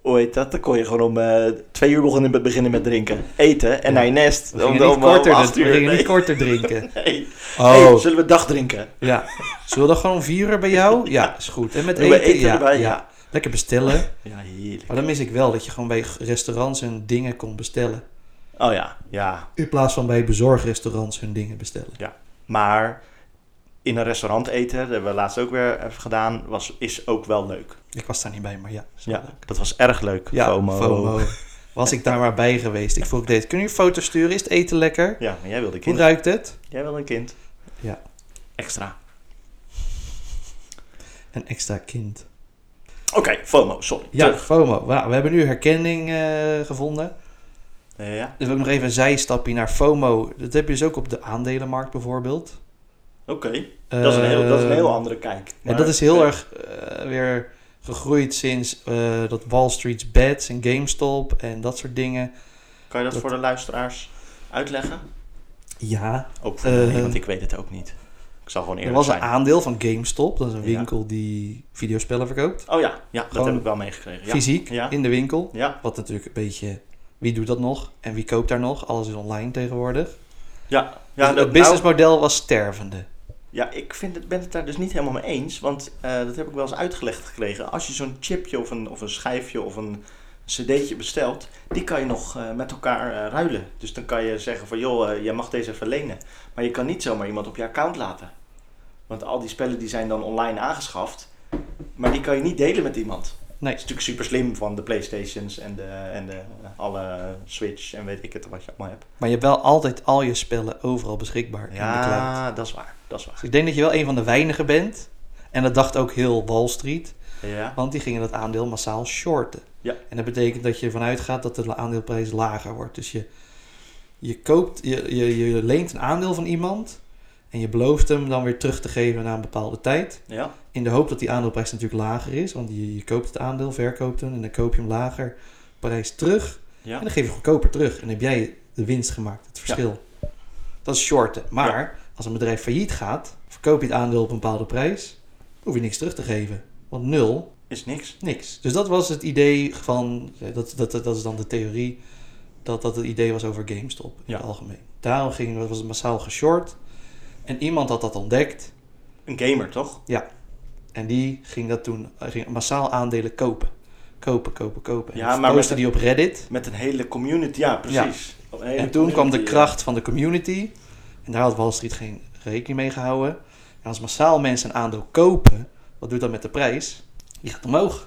S4: Hoe heet dat? Dan kon je gewoon om eh, twee uur begonnen, beginnen met drinken. Eten en
S3: Ja.
S4: naar je nest.
S3: We gingen
S4: Om-
S3: niet
S4: om- om
S3: korter, dus
S4: acht
S3: we
S4: uur.
S3: gingen niet
S4: Nee.
S3: korter drinken.
S4: Nee. Hey,
S3: Oh,
S4: zullen we dag drinken?
S3: ja. Zullen we dan gewoon om vier uur bij jou? Ja, is goed. En met
S4: Doen we
S3: eten?
S4: eten
S3: ja,
S4: erbij?
S3: ja.
S4: Ja.
S3: Lekker bestellen.
S4: Ja, heerlijk.
S3: Maar dan mis ik wel dat je gewoon bij restaurants hun dingen kon bestellen.
S4: Oh ja, ja.
S3: In plaats van bij bezorgrestaurants hun dingen bestellen.
S4: Maar in een restaurant eten, dat hebben we laatst ook weer even gedaan, was, is ook wel leuk.
S3: Ik was daar niet bij, maar ja. is wel
S4: Ja,
S3: leuk.
S4: dat was erg leuk.
S3: ja
S4: FOMO.
S3: Was ik daar maar bij geweest. Ik vroeg deze, kunnen jullie foto's sturen? Is het eten lekker?
S4: Ja, maar jij wilde
S3: Hoe
S4: kind.
S3: ruikt het?
S4: Jij wilde een kind.
S3: Ja.
S4: Extra.
S3: Een extra kind.
S4: Oké, FOMO, sorry.
S3: Ja,
S4: Terug.
S3: FOMO. Nou, we hebben nu herkenning eh, gevonden.
S4: Eh, ja.
S3: Dus ook nog even een zijstapje naar FOMO. Dat heb je dus ook op de aandelenmarkt bijvoorbeeld.
S4: Oké, dat, is een heel- dat is een heel andere kijk.
S3: Ehm, En
S4: Maar-
S3: dat is heel
S4: eh,
S3: erg eh, weer gegroeid sinds eh, dat Wall Street's bets en GameStop en dat soort dingen.
S4: Kan je dat,
S3: dat-
S4: voor de luisteraars uitleggen?
S3: Ja.
S4: Ook voor
S3: Eh,
S4: mij, want ik weet het ook niet. Ik zal gewoon
S3: Er
S4: eerlijk
S3: was een
S4: zijn.
S3: aandeel van GameStop, dat is een
S4: Ja.
S3: winkel die videospellen verkoopt.
S4: Oh ja, ja dat
S3: Gewoon
S4: heb ik wel meegekregen. Ja.
S3: Fysiek,
S4: Ja.
S3: in de winkel.
S4: Ja,
S3: Wat natuurlijk een beetje, wie doet dat nog en wie koopt daar nog? Alles is online tegenwoordig.
S4: ja,
S3: Ja, dus
S4: ja, dat-
S3: het businessmodel was stervende.
S4: Ja, ik vind het, ben het daar dus niet helemaal mee eens. Want eh, dat heb ik wel eens uitgelegd gekregen. Als je zo'n chipje of een, of een schijfje of een cd'tje bestelt, die kan je nog eh, met elkaar eh, ruilen. Dus dan kan je zeggen van joh, eh, jij mag deze even lenen. Maar je kan niet zomaar iemand op je account laten. Want al die spellen die zijn dan online aangeschaft. Maar die kan je niet delen met iemand.
S3: Nee.
S4: Dat is natuurlijk super slim van de Playstations en de, en de alle Switch en weet ik het wat je allemaal hebt.
S3: Maar je hebt wel altijd al je spellen overal beschikbaar in de cloud.
S4: dat is waar. Dat is waar.
S3: Dus ik denk dat je wel een van de weinigen bent. En dat dacht ook heel Wall Street.
S4: Ja.
S3: Want die gingen dat aandeel massaal shorten.
S4: Ja.
S3: En dat betekent dat je ervan uitgaat dat de aandeelprijs lager wordt. Dus je, je, koopt, je, je, je leent een aandeel van iemand en je belooft hem dan weer terug te geven na een bepaalde tijd.
S4: Ja.
S3: In de hoop dat die aandeelprijs natuurlijk lager is. Want je, je koopt het aandeel, verkoopt hem en dan koop je hem lager prijs terug.
S4: Ja.
S3: En dan geef je goedkoper terug. En dan heb jij de winst gemaakt, het verschil. Dat is shorten. Maar als een bedrijf failliet gaat, verkoop je het aandeel op een bepaalde prijs, hoef je niks terug te geven. Want nul
S4: Is niks.
S3: Niks. Dus dat was het idee van, eh, dat, dat, dat is dan de theorie, dat dat het idee was over GameStop in
S4: Ja.
S3: het algemeen. Daarom ging, was het massaal geshort en iemand had dat ontdekt.
S4: Een gamer, toch?
S3: En die ging dat toen eh, ging massaal aandelen kopen. Kopen, kopen, kopen. En
S4: Ja,
S3: ja,
S4: maar
S3: maar
S4: met-
S3: die op Reddit.
S4: Met een hele community, ja precies. Een hele
S3: En toen kwam de
S4: community,
S3: kracht van de community. En daar had Wall Street geen rekening mee gehouden. En als massaal mensen een aandeel kopen, wat doet dat met de prijs? Die gaat omhoog.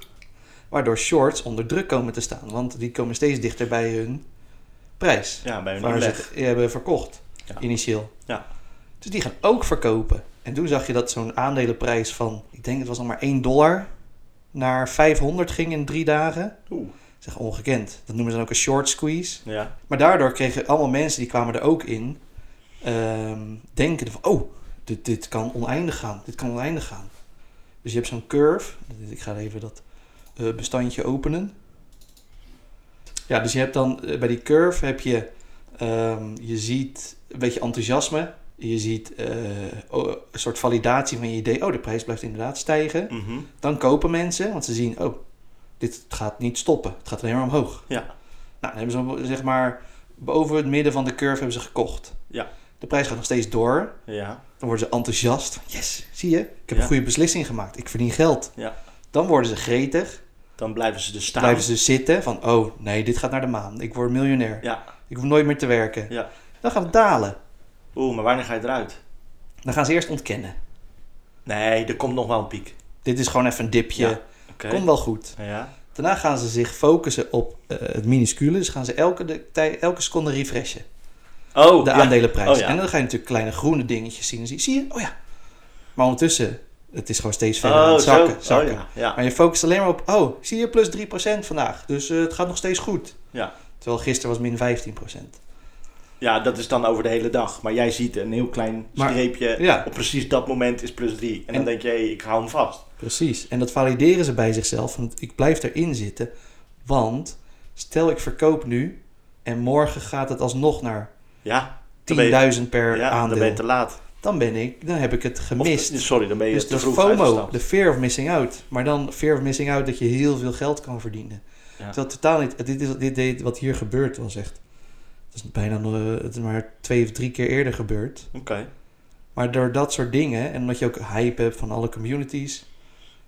S3: Waardoor shorts onder druk komen te staan. Want die komen steeds dichter bij hun prijs.
S4: Ja, Ja, bij een
S3: waar ze
S4: inleg.
S3: het eh, hebben verkocht,
S4: Ja.
S3: initieel.
S4: Ja.
S3: Dus die gaan ook verkopen. En toen zag je dat zo'n aandelenprijs van, ik denk het was nog maar 1 dollar, naar 500 ging in drie dagen.
S4: Oeh,
S3: Zeg ongekend. Dat noemen ze dan ook een short squeeze.
S4: ja.
S3: Maar daardoor kregen allemaal mensen die kwamen er ook in, ehm, denken van, oh, dit, dit kan oneindig gaan, dit kan oneindig gaan. Dus je hebt zo'n curve, ik ga even dat eh, bestandje openen. Ja, dus je hebt dan eh, bij die curve heb je, ehm, je ziet een beetje enthousiasme, je ziet eh, o- een soort validatie van je idee, oh, de prijs blijft inderdaad stijgen.
S4: Mhm.
S3: Dan kopen mensen, want ze zien, oh, dit gaat niet stoppen, het gaat alleen maar omhoog.
S4: Ja,
S3: Nou, dan hebben ze zeg maar boven het midden van de curve hebben ze gekocht.
S4: Ja.
S3: De prijs gaat nog steeds door.
S4: ja.
S3: Dan worden ze enthousiast. Yes, zie je, ik heb
S4: Ja.
S3: een goede beslissing gemaakt. Ik verdien geld.
S4: Ja.
S3: Dan worden ze gretig.
S4: Dan blijven ze dus staan.
S3: Blijven ze zitten van, oh nee, dit gaat naar de maan. Ik word miljonair.
S4: Ja.
S3: Ik hoef nooit meer te werken.
S4: Ja.
S3: Dan gaan we dalen.
S4: Oeh, maar wanneer ga je eruit?
S3: Dan gaan ze eerst ontkennen.
S4: Nee, er komt nog wel een piek.
S3: Dit is gewoon even een dipje.
S4: Ja. Oké.
S3: Komt wel goed.
S4: Ja.
S3: Daarna gaan ze zich focussen op eh, het minuscule. Dus gaan ze elke, de, tij- elke seconde refreshen.
S4: Oh,
S3: de
S4: ja.
S3: aandelenprijs.
S4: Oh, ja.
S3: En dan ga je natuurlijk kleine groene dingetjes zien. Dan zie je, zie je, oh ja. Maar ondertussen, het is gewoon steeds verder aan
S4: Oh,
S3: het zakken.
S4: zo.
S3: zakken.
S4: Oh, ja. ja.
S3: Maar je focust alleen maar op, oh, zie je, plus 3% vandaag. Dus eh, het gaat nog steeds goed.
S4: Ja.
S3: Terwijl gisteren was min 15%.
S4: Ja, dat is dan over de hele dag. Maar jij ziet een heel klein
S3: Maar-
S4: streepje.
S3: ja.
S4: Op precies dat moment is plus 3. En, dan
S3: En-
S4: denk je, hé, ik hou hem vast.
S3: Precies. En dat valideren ze bij zichzelf. Want ik blijf erin zitten. Want stel ik verkoop nu en morgen gaat het alsnog naar
S4: Ja, dan ben je-
S3: 10.000 per
S4: ja dan
S3: aandeel.
S4: ben je te laat.
S3: Dan ben ik, dan heb ik het
S4: Of-
S3: gemist.
S4: sorry, dan ben je
S3: Dus
S4: te
S3: de
S4: vroeg
S3: FOMO,
S4: uitgestapt.
S3: de fear of missing out. Maar dan fear of missing out dat je heel veel geld kan verdienen.
S4: Ja.
S3: Terwijl het totaal niet, dit, is, dit, dit wat hier gebeurt was echt, dat is bijna nog, eh, het is maar twee of drie keer eerder gebeurd.
S4: Oké.
S3: Maar door dat soort dingen, en omdat je ook hype hebt van alle communities,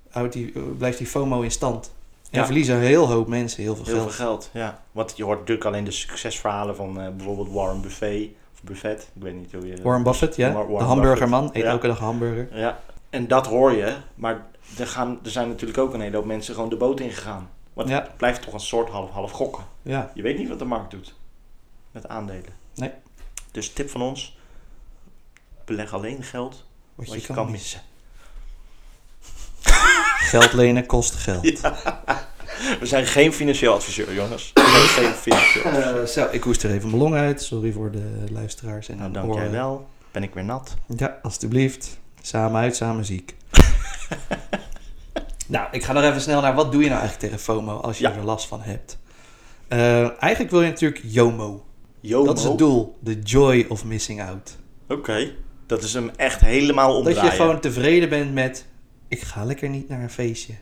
S3: houdt die, eh, blijft die FOMO in stand. En
S4: Ja.
S3: verliezen een heel hoop mensen heel veel
S4: Heel
S3: geld.
S4: veel geld, ja. Want je hoort natuurlijk alleen de succesverhalen van eh, bijvoorbeeld Warren Buffet. Of Buffet, ik weet niet hoe je...
S3: Warren Buffett, ja,
S4: War- Warren
S3: de hamburgerman, eet
S4: Ja.
S3: elke dag hamburger.
S4: Ja, en dat hoor je. Maar er, gaan, er zijn natuurlijk ook een hele hoop mensen gewoon de boot ingegaan. Want
S3: Ja.
S4: het blijft toch een soort half-half gokken.
S3: Ja,
S4: Je weet niet wat de markt doet met aandelen.
S3: Nee.
S4: Dus tip van ons: beleg alleen geld
S3: wat,
S4: wat
S3: je, kan, missen.
S4: missen.
S3: Geld lenen kost geld.
S4: We zijn geen financieel adviseur, jongens. We zijn geen financieel adviseur.
S3: Eh, zo, ik hoest er even mijn long uit. Sorry voor de luisteraars en
S4: Nou,
S3: de
S4: dank jij
S3: oren.
S4: wel. Ben ik weer nat?
S3: Ja, alstublieft. Samen uit, samen ziek. nou, ik ga nog even snel naar wat doe je nou eigenlijk tegen FOMO als je
S4: Ja.
S3: er last van hebt. Eh, eigenlijk wil je natuurlijk JOMO.
S4: Jomo.
S3: Dat is het doel. The joy of missing out.
S4: Oké. Dat is hem echt helemaal omdraaien.
S3: Dat je gewoon tevreden bent met... Ik ga lekker niet naar een feestje.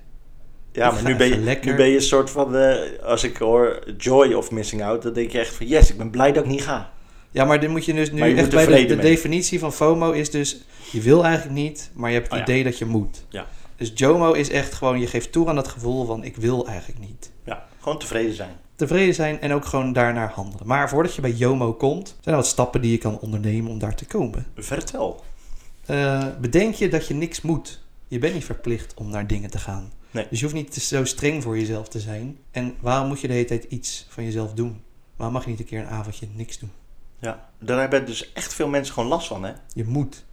S4: ja,
S3: ik
S4: maar
S3: ga
S4: nu ben, je,
S3: even lekker-
S4: nu ben je een soort van... eh, als ik hoor joy of missing out, dan denk je echt van... Yes, ik ben blij dat ik niet ga.
S3: Ja, maar dit moet je dus nu
S4: Maar je moet
S3: echt bij de,
S4: tevreden
S3: de
S4: mee.
S3: definitie van FOMO is dus je wil eigenlijk niet, maar je hebt het
S4: Oh ja.
S3: idee dat je moet.
S4: Ja.
S3: Dus JOMO is echt gewoon je geeft toe aan dat gevoel van ik wil eigenlijk niet.
S4: Ja, gewoon tevreden zijn.
S3: Tevreden zijn en ook gewoon daarnaar handelen. Maar voordat je bij JOMO komt, zijn er wat stappen die je kan ondernemen om daar te komen.
S4: Vertel.
S3: Eh, bedenk je dat je niks moet. Je bent niet verplicht om naar dingen te gaan.
S4: Nee.
S3: Dus je hoeft niet te- zo streng voor jezelf te zijn. En waarom moet je de hele tijd iets van jezelf doen? Waarom mag je niet een keer een avondje niks doen?
S4: Ja, daar hebben dus echt veel mensen gewoon last van, hè?
S3: Je moet.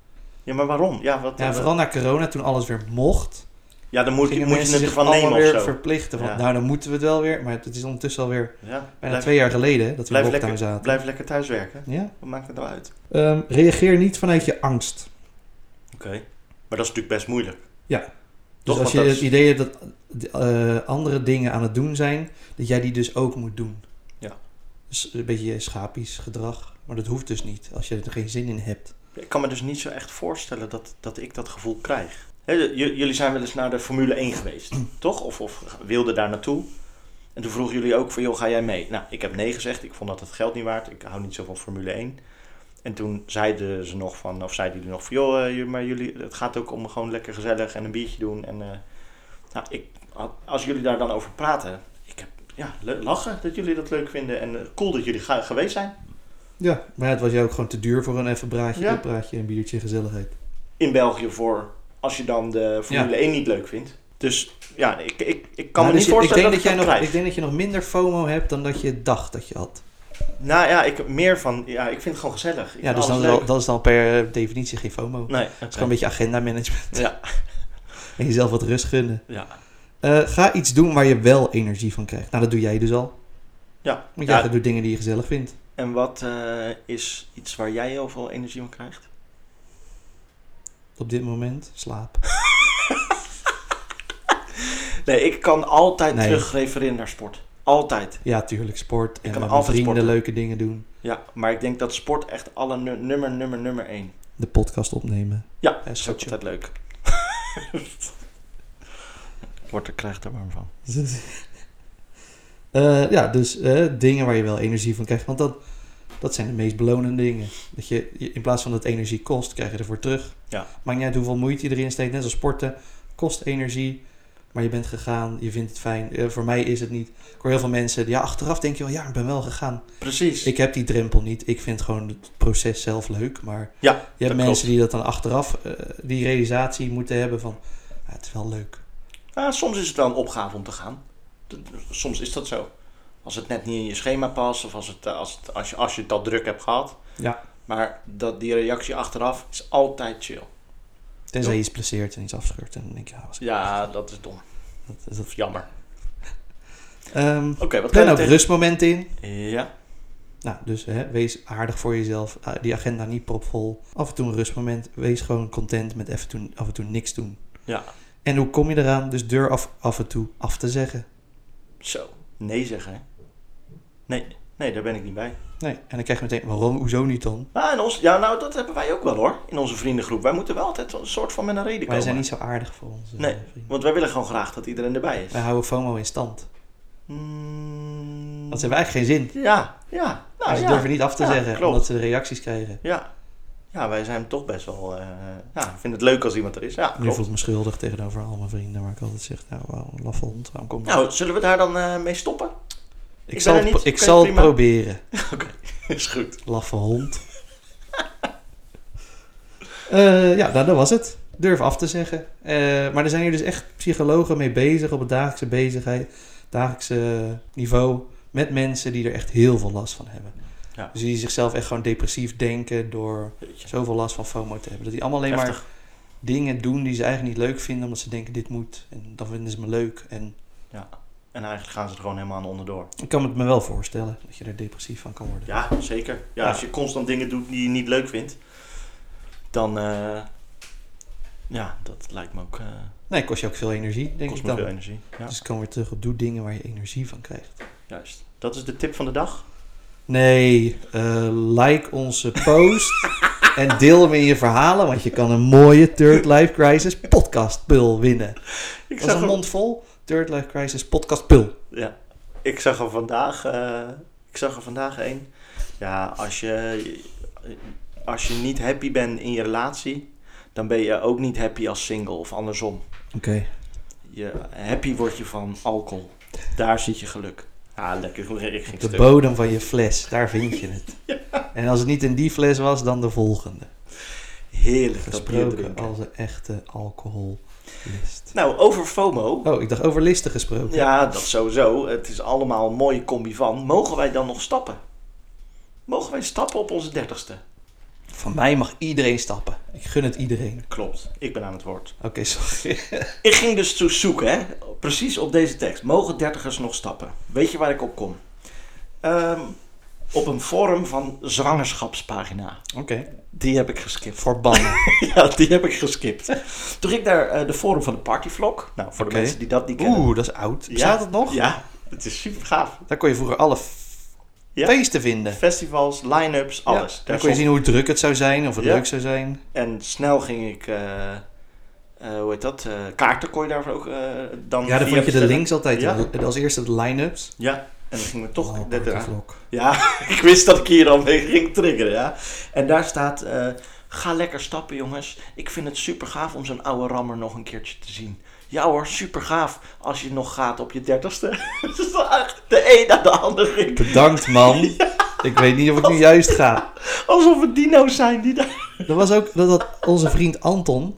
S4: Ja, maar waarom? Ja, wat,
S3: Ja, en vooral na corona, toen alles weer mocht,
S4: ja dan moet, je-
S3: gingen
S4: moet je
S3: mensen
S4: het
S3: zich
S4: ervan
S3: allemaal
S4: nemen of
S3: weer
S4: zo.
S3: verplichten. Van,
S4: Ja.
S3: Nou, dan moeten we het wel weer. Maar het is ondertussen alweer
S4: Ja,
S3: bijna
S4: blijf,
S3: twee jaar geleden hè, dat we in
S4: blijf
S3: lockdown
S4: lekker,
S3: zaten.
S4: blijf lekker thuiswerken.
S3: Ja?
S4: Wat maakt het nou uit?
S3: Ehm, reageer niet vanuit je angst.
S4: Oké. Maar dat is natuurlijk best moeilijk.
S3: Ja. Dus
S4: Toch?
S3: als
S4: Want
S3: je
S4: dat
S3: het
S4: is-
S3: idee hebt dat eh, andere dingen aan het doen zijn, dat jij die dus ook moet doen.
S4: Ja.
S3: Dus een beetje schapisch gedrag. Maar dat hoeft dus niet als je er geen zin in hebt.
S4: Ik kan me dus niet zo echt voorstellen dat, dat ik dat gevoel krijg. Hè, j- jullie zijn wel eens naar de Formule 1 geweest, toch? Of, of wilden daar naartoe. En toen vroegen jullie ook van, joh, ga jij mee? Nou, ik heb nee gezegd. Ik vond dat het geld niet waard. Ik hou niet zo van Formule 1. En toen zeiden ze nog van, of zeiden jullie nog van, joh, eh, jullie- maar jullie, het gaat ook om gewoon lekker gezellig en een biertje doen. En eh, nou, ik, als jullie daar dan over praten, ik heb ja, le- lachen dat jullie dat leuk vinden en eh, cool dat jullie ga- geweest zijn.
S3: Ja, maar het was jou ook gewoon te duur voor een even braadje,
S4: Ja.
S3: een praatje en biertje en gezelligheid.
S4: in België voor als je dan de Formule
S3: Ja.
S4: 1 niet leuk vindt. Dus ja, ik, ik, ik kan
S3: Maar
S4: me niet
S3: dus ik-
S4: voorstellen
S3: ik denk
S4: dat,
S3: dat,
S4: ik
S3: jij
S4: dat
S3: nog, Ik denk dat je nog minder FOMO hebt dan dat je dacht dat je had.
S4: Nou ja, ik heb meer van, ja, ik vind het gewoon gezellig. Ik
S3: Ja,
S4: vind
S3: dus dan is
S4: alles
S3: wel-
S4: Nou, leuk.
S3: dat is dan per eh, definitie geen FOMO. Het
S4: Nee,
S3: is gewoon een beetje agenda management
S4: oké. ja,
S3: en jezelf wat rust gunnen.
S4: ja.
S3: Eh, ga iets doen waar je wel energie van krijgt. Nou, dat doe jij dus al.
S4: ja.
S3: Want jij
S4: Ja,
S3: doet dingen die je gezellig vindt.
S4: En wat eh, is iets waar jij heel veel energie van krijgt?
S3: Op dit moment slaap.
S4: Nee, ik kan altijd
S3: Nee.
S4: terug refereren naar sport. Altijd.
S3: Ja, tuurlijk, sport. En
S4: kan
S3: met mijn
S4: altijd
S3: vrienden
S4: sporten.
S3: leuke dingen doen.
S4: Ja, maar ik denk dat sport echt alle nu- nummer, nummer, nummer één.
S3: De podcast opnemen.
S4: Ja,
S3: Eh,
S4: dat is ook
S3: schatje.
S4: altijd leuk. Wordt er krijgt er warm van.
S3: Eh, ja, dus eh, dingen waar je wel energie van krijgt. Want dat, dat zijn de meest belonende dingen. Dat je, je- in plaats van dat het energie kost, krijg je ervoor terug.
S4: Ja.
S3: Maakt niet uit hoeveel moeite je erin steekt. Net als sporten. Kost energie. Maar je bent gegaan. Je vindt het fijn. Eh, voor mij is het niet. Ik hoor heel veel mensen. die- Ja, achteraf denk je wel. Ja, ik ben wel gegaan.
S4: Precies.
S3: Ik heb die drempel niet. Ik vind gewoon het proces zelf leuk. Maar
S4: Ja,
S3: je hebt
S4: dat
S3: mensen die dat dan achteraf. eh, die realisatie moeten hebben van. "Ah, het is wel leuk.
S4: Ja, soms is het wel een opgave om te gaan. D- Soms is dat zo. Als het net niet in je schema past of als, het, eh, als, het, als, je, als je het al druk hebt gehad.
S3: Ja.
S4: Maar dat, die reactie achteraf is altijd chill.
S3: Tenzij
S4: Ja.
S3: je iets blesseert en iets afscheurt. En dan denk je, ah, was ik-
S4: Ja, dat is dom.
S3: dat, dat,
S4: Dat is jammer.
S3: Ehm,
S4: Oké, wat kan
S3: plan
S4: je
S3: ook
S4: tegen...
S3: rustmomenten in.
S4: Ja,
S3: Nou, dus hè, wees aardig voor jezelf. Ah, Die agenda niet propvol. Af en toe een rustmoment. Wees gewoon content met even toe, af en toe niks doen.
S4: Ja.
S3: En hoe kom je eraan? Dus deur af, af en toe af te zeggen.
S4: zo. Nee zeggen, hè? Nee, nee, daar ben ik niet bij.
S3: Nee. En dan krijg je meteen, waarom, hoezo niet dan?
S4: Maar in ons, ja, nou, dat hebben wij ook wel hoor. In onze vriendengroep. Wij moeten wel altijd een soort van met een reden
S3: Wij
S4: komen.
S3: zijn niet zo aardig voor onze
S4: Nee,
S3: eh, vrienden.
S4: want wij willen gewoon graag dat iedereen erbij is.
S3: Wij houden FOMO in stand.
S4: Mm,
S3: Dat hebben eigenlijk geen zin.
S4: Ja, ja. Nou,
S3: Maar ze
S4: ja.
S3: durven niet af te
S4: Ja,
S3: zeggen,
S4: klopt.
S3: omdat ze de reacties krijgen.
S4: Ja. Ja, wij zijn toch best wel... eh ja, ik vind het leuk als iemand er is. Ja,
S3: Nu
S4: klopt.
S3: voel ik me schuldig tegenover al mijn vrienden, waar ik altijd zeg, nou, wauw, een laffe hond, waarom kom je?
S4: Nou, zullen we daar dan eh, mee stoppen?
S3: ik,
S4: ben
S3: zal,
S4: er
S3: het
S4: niet,
S3: pro-
S4: kan
S3: ik
S4: je
S3: zal het
S4: prima.
S3: proberen.
S4: is goed.
S3: Laffe hond. Eh, ja, nou, dat was het. Durf af te zeggen. Eh, maar er zijn hier dus echt psychologen mee bezig op het dagelijkse bezigheid, dagelijkse niveau. Met mensen die er echt heel veel last van hebben.
S4: Ja.
S3: Dus die zichzelf echt gewoon depressief denken door
S4: Jeetje.
S3: zoveel last van FOMO te hebben. Dat die allemaal alleen maar
S4: Heftig.
S3: dingen doen die ze eigenlijk niet leuk vinden, omdat ze denken dit moet. En dan vinden ze me leuk. En
S4: Ja. En eigenlijk gaan ze er gewoon helemaal aan onderdoor.
S3: ik kan het me wel voorstellen dat je er depressief van kan worden.
S4: Ja, zeker. Ja,
S3: Ja.
S4: als je constant dingen doet die je niet leuk vindt, dan... eh, ja, dat lijkt me ook... eh
S3: Nee, kost je ook veel energie, denk
S4: kost
S3: ik
S4: me
S3: dan.
S4: veel energie. Ja,
S3: Dus ik kan weer terug op doe dingen waar je energie van krijgt.
S4: juist. Dat is de tip van de dag.
S3: Nee, eh, like onze post en deel hem in je verhalen, want je kan een mooie Third Life Crisis podcastpul winnen.
S4: Ik
S3: Dat is een mond vol. Third Life Crisis podcastpul.
S4: Ja, ik zag er vandaag, eh, ik zag er vandaag een. Ja, als je, als je niet happy bent in je relatie, dan ben je ook niet happy als single of andersom.
S3: Oké.
S4: Je, happy word je van alcohol. Daar zit je geluk. Ja, lekker. Ik ging
S3: De
S4: stuk.
S3: bodem van je fles, daar vind je het. En als het niet in die fles was, dan de volgende.
S4: Heerlijk dat bier
S3: Gesproken
S4: drinken.
S3: als een echte alcoholist.
S4: Nou, over FOMO.
S3: Oh, ik dacht over listen gesproken.
S4: Ja, dat sowieso. Het is allemaal een mooie combi van. Mogen wij dan nog stappen? Mogen wij stappen op onze dertigste?
S3: Van mij mag iedereen stappen. Ik gun het iedereen.
S4: Klopt. Ik ben aan het woord.
S3: Oké, sorry.
S4: Ik ging dus zo- zoeken, hè? precies op deze tekst. Mogen dertigers nog stappen? Weet je waar ik op kom? Ehm, op een forum van zwangerschapspagina.
S3: Oké.
S4: Die heb ik geskipt.
S3: Verbannen.
S4: ja, die heb ik geskipt. Toen ging ik naar eh, de forum van de Partyvlog. Nou, voor
S3: Oké.
S4: de mensen die dat niet kennen.
S3: Oeh, dat is oud.
S4: Ja,
S3: Bestaat het nog?
S4: Ja, het is super gaaf.
S3: Daar kon je vroeger alle f-
S4: Ja.
S3: feesten vinden.
S4: Festivals, line-ups, alles.
S3: Ja. Dan
S4: Daar
S3: kon je
S4: stond-
S3: zien hoe druk het zou zijn of het
S4: Ja.
S3: leuk zou zijn.
S4: En snel ging ik eh, eh, hoe heet dat? eh, kaarten kon je daarvoor ook eh, dan.
S3: Ja, dan
S4: via
S3: vond je de
S4: bestellen.
S3: links altijd.
S4: Ja.
S3: eh, Als eerste de line-ups.
S4: Ja, en dan gingen we toch.
S3: Oh,
S4: net eraan.
S3: vlog.
S4: Ja, ik wist dat ik hier al mee ging triggeren, ja. En daar staat, eh, ga lekker stappen jongens. Ik vind het super gaaf om zo'n oude rammer nog een keertje te zien. Ja hoor, super gaaf als je nog gaat op je dertigste. Dus echt de een naar de ander ging.
S3: Bedankt, man. Ik weet niet of ik nu juist ga.
S4: Alsof het dino's zijn die daar...
S3: Er was ook dat, dat onze vriend Anton,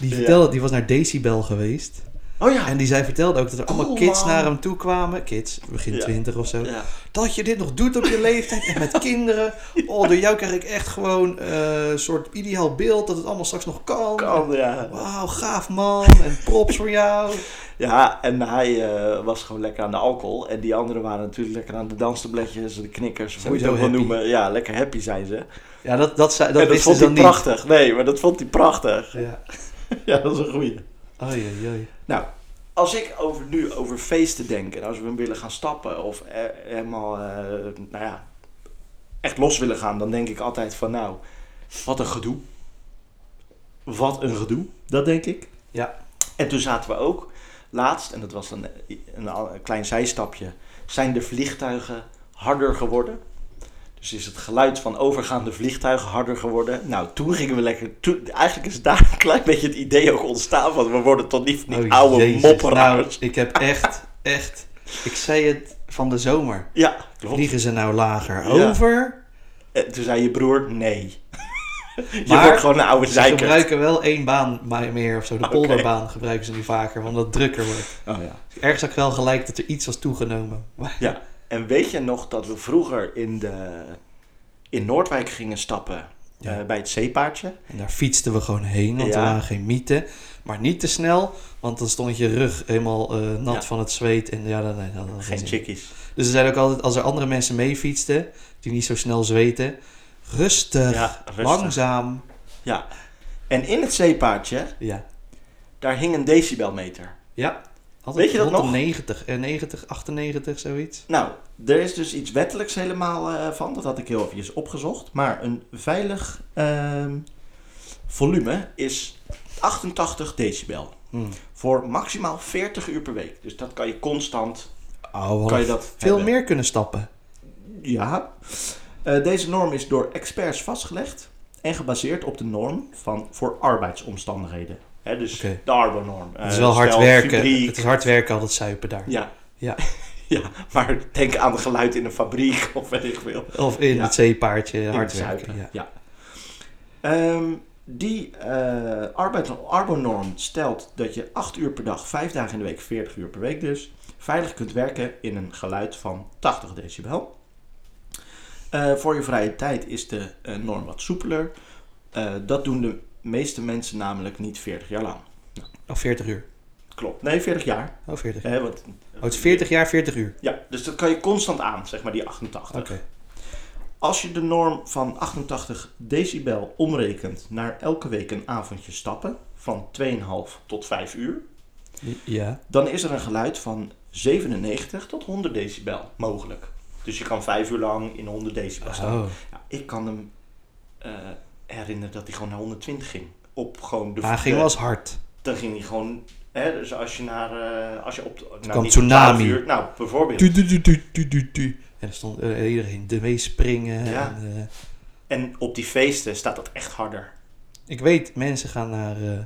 S3: die
S4: Ja.
S3: vertelde, die was naar Decibel geweest.
S4: Oh ja.
S3: En die zij vertelde ook dat er allemaal
S4: Cool,
S3: kids
S4: Oh, man.
S3: naar hem toe kwamen. Kids, begin
S4: Ja.
S3: twintig of zo.
S4: Ja.
S3: Dat je dit nog doet op je leeftijd en met kinderen. Oh, door jou krijg ik echt gewoon eh, een soort ideaal beeld dat het allemaal straks nog kan.
S4: Kan, ja.
S3: Wauw, gaaf man. En props voor jou.
S4: ja, en hij eh, was gewoon lekker aan de alcohol. En die anderen waren natuurlijk lekker aan de danstabletjes, de knikkers, hoe je het
S3: Sowieso
S4: ook wil
S3: happy.
S4: noemen. Ja, lekker happy zijn ze.
S3: Ja, dat, dat, zei- dat
S4: en dat
S3: wisten
S4: vond
S3: ze
S4: hij
S3: dan niet.
S4: prachtig. Nee, maar dat vond hij prachtig.
S3: Ja.
S4: Ja, dat is een goeie.
S3: Oei, oei, oei.
S4: Nou, als ik over, nu over feesten denk en als we willen gaan stappen of eh, helemaal, eh, nou ja, echt los willen gaan, dan denk ik altijd van nou, wat een gedoe. Wat een gedoe, dat denk ik.
S3: Ja.
S4: En toen zaten we ook laatst, en dat was een, een, al- een klein zijstapje, zijn de vliegtuigen harder geworden? Dus is het geluid van overgaande vliegtuigen harder geworden? Nou, toen gingen we lekker... Toen, eigenlijk is daar een klein beetje het idee ook ontstaan van... we worden toch niet, niet
S3: Oh,
S4: oude
S3: jezus.
S4: mopperaars.
S3: Nou, ik heb echt, echt... Ik zei het van de zomer.
S4: ja, klopt.
S3: Vliegen ze nou lager
S4: Ja.
S3: over?
S4: En toen zei je broer, nee. je
S3: Maar-
S4: wordt gewoon een oude
S3: Ze
S4: zeiker.
S3: gebruiken wel één baan maar meer of zo. De
S4: Oké.
S3: polderbaan gebruiken ze nu vaker, omdat het drukker wordt.
S4: Oh, ja.
S3: Ergens had ik wel gelijk dat er iets was toegenomen. Maar-
S4: Ja, en weet je nog dat we vroeger in, de, in Noordwijk gingen stappen
S3: Ja.
S4: eh, bij het zeepaardje?
S3: En daar fietsten we gewoon heen, want er
S4: Ja.
S3: waren geen mythen. Maar niet te snel, want dan stond je rug helemaal eh, nat
S4: Ja.
S3: van het zweet. En ja, dan, nee, dat had
S4: Geen
S3: zin.
S4: chickies.
S3: Dus ze zeiden ook altijd, als er andere mensen mee fietsten, die niet zo snel zweten... Rustig,
S4: Ja, rustig.
S3: langzaam.
S4: Ja. En in het zeepaardje,
S3: Ja,
S4: daar hing een decibelmeter.
S3: ja. Altijd
S4: Weet je dat
S3: rond de
S4: nog?
S3: 90, eh, 90, 98, zoiets.
S4: Nou, er is dus iets wettelijks helemaal eh, van. Dat had ik heel even opgezocht. Maar een veilig ehm, volume is 88 decibel.
S3: Hmm.
S4: Voor maximaal 40 uur per week. Dus dat kan je constant.
S3: Oh,
S4: Kan je dat
S3: veel
S4: hebben.
S3: meer kunnen stappen.
S4: Ja. Eh, deze norm is door experts vastgelegd en gebaseerd op de norm van voor arbeidsomstandigheden. Hè, dus
S3: Oké.
S4: de Arbo-norm.
S3: het is wel hard werken. Het is hard werken al dat zuipen daar.
S4: Eh, Ja.
S3: Ja.
S4: ja, maar denk aan het geluid in een fabriek of weet ik veel.
S3: Of in
S4: Ja.
S3: het zeepaardje
S4: In
S3: hard
S4: het
S3: werken.
S4: zuipen,
S3: Ja.
S4: ja. Ehm, die eh arbeid, Arbonorm stelt dat je 8 uur per dag, 5 dagen in de week, 40 uur per week dus, veilig kunt werken in een geluid van 80 decibel. Eh, voor je vrije tijd is de eh, norm wat soepeler. Eh, dat doen de meeste mensen namelijk niet 40 jaar lang.
S3: Of 40 Oh, uur.
S4: Klopt. Nee, 40 jaar.
S3: Oh, 40.
S4: Hè, want,
S3: Oh, het is 40 jaar, 40 uur.
S4: Ja, dus dat kan je constant aan, zeg maar, die 88.
S3: Oké.
S4: Als je de norm van 88 decibel omrekent naar elke week een avondje stappen van 2,5 tot 5 uur,
S3: Ja.
S4: dan is er een geluid van 97 tot 100 decibel mogelijk. Dus je kan 5 uur lang in 100 decibel staan.
S3: Oh.
S4: Ja, ik kan hem eh, herinneren dat hij gewoon naar 120 ging. Op gewoon de
S3: Maar hij Ah, ging wel eens hard.
S4: Dan ging hij gewoon. Hè, dus als je naar. eh, als je op. Nou,
S3: kwam
S4: niet op
S3: tsunami.
S4: 12 uur, nou, bijvoorbeeld.
S3: Tu, tu, tu, tu, tu, tu, tu. En er stond eh, iedereen de mee springen.
S4: Ja.
S3: en, eh,
S4: En op die feesten staat dat echt harder.
S3: ik weet, mensen gaan naar eh,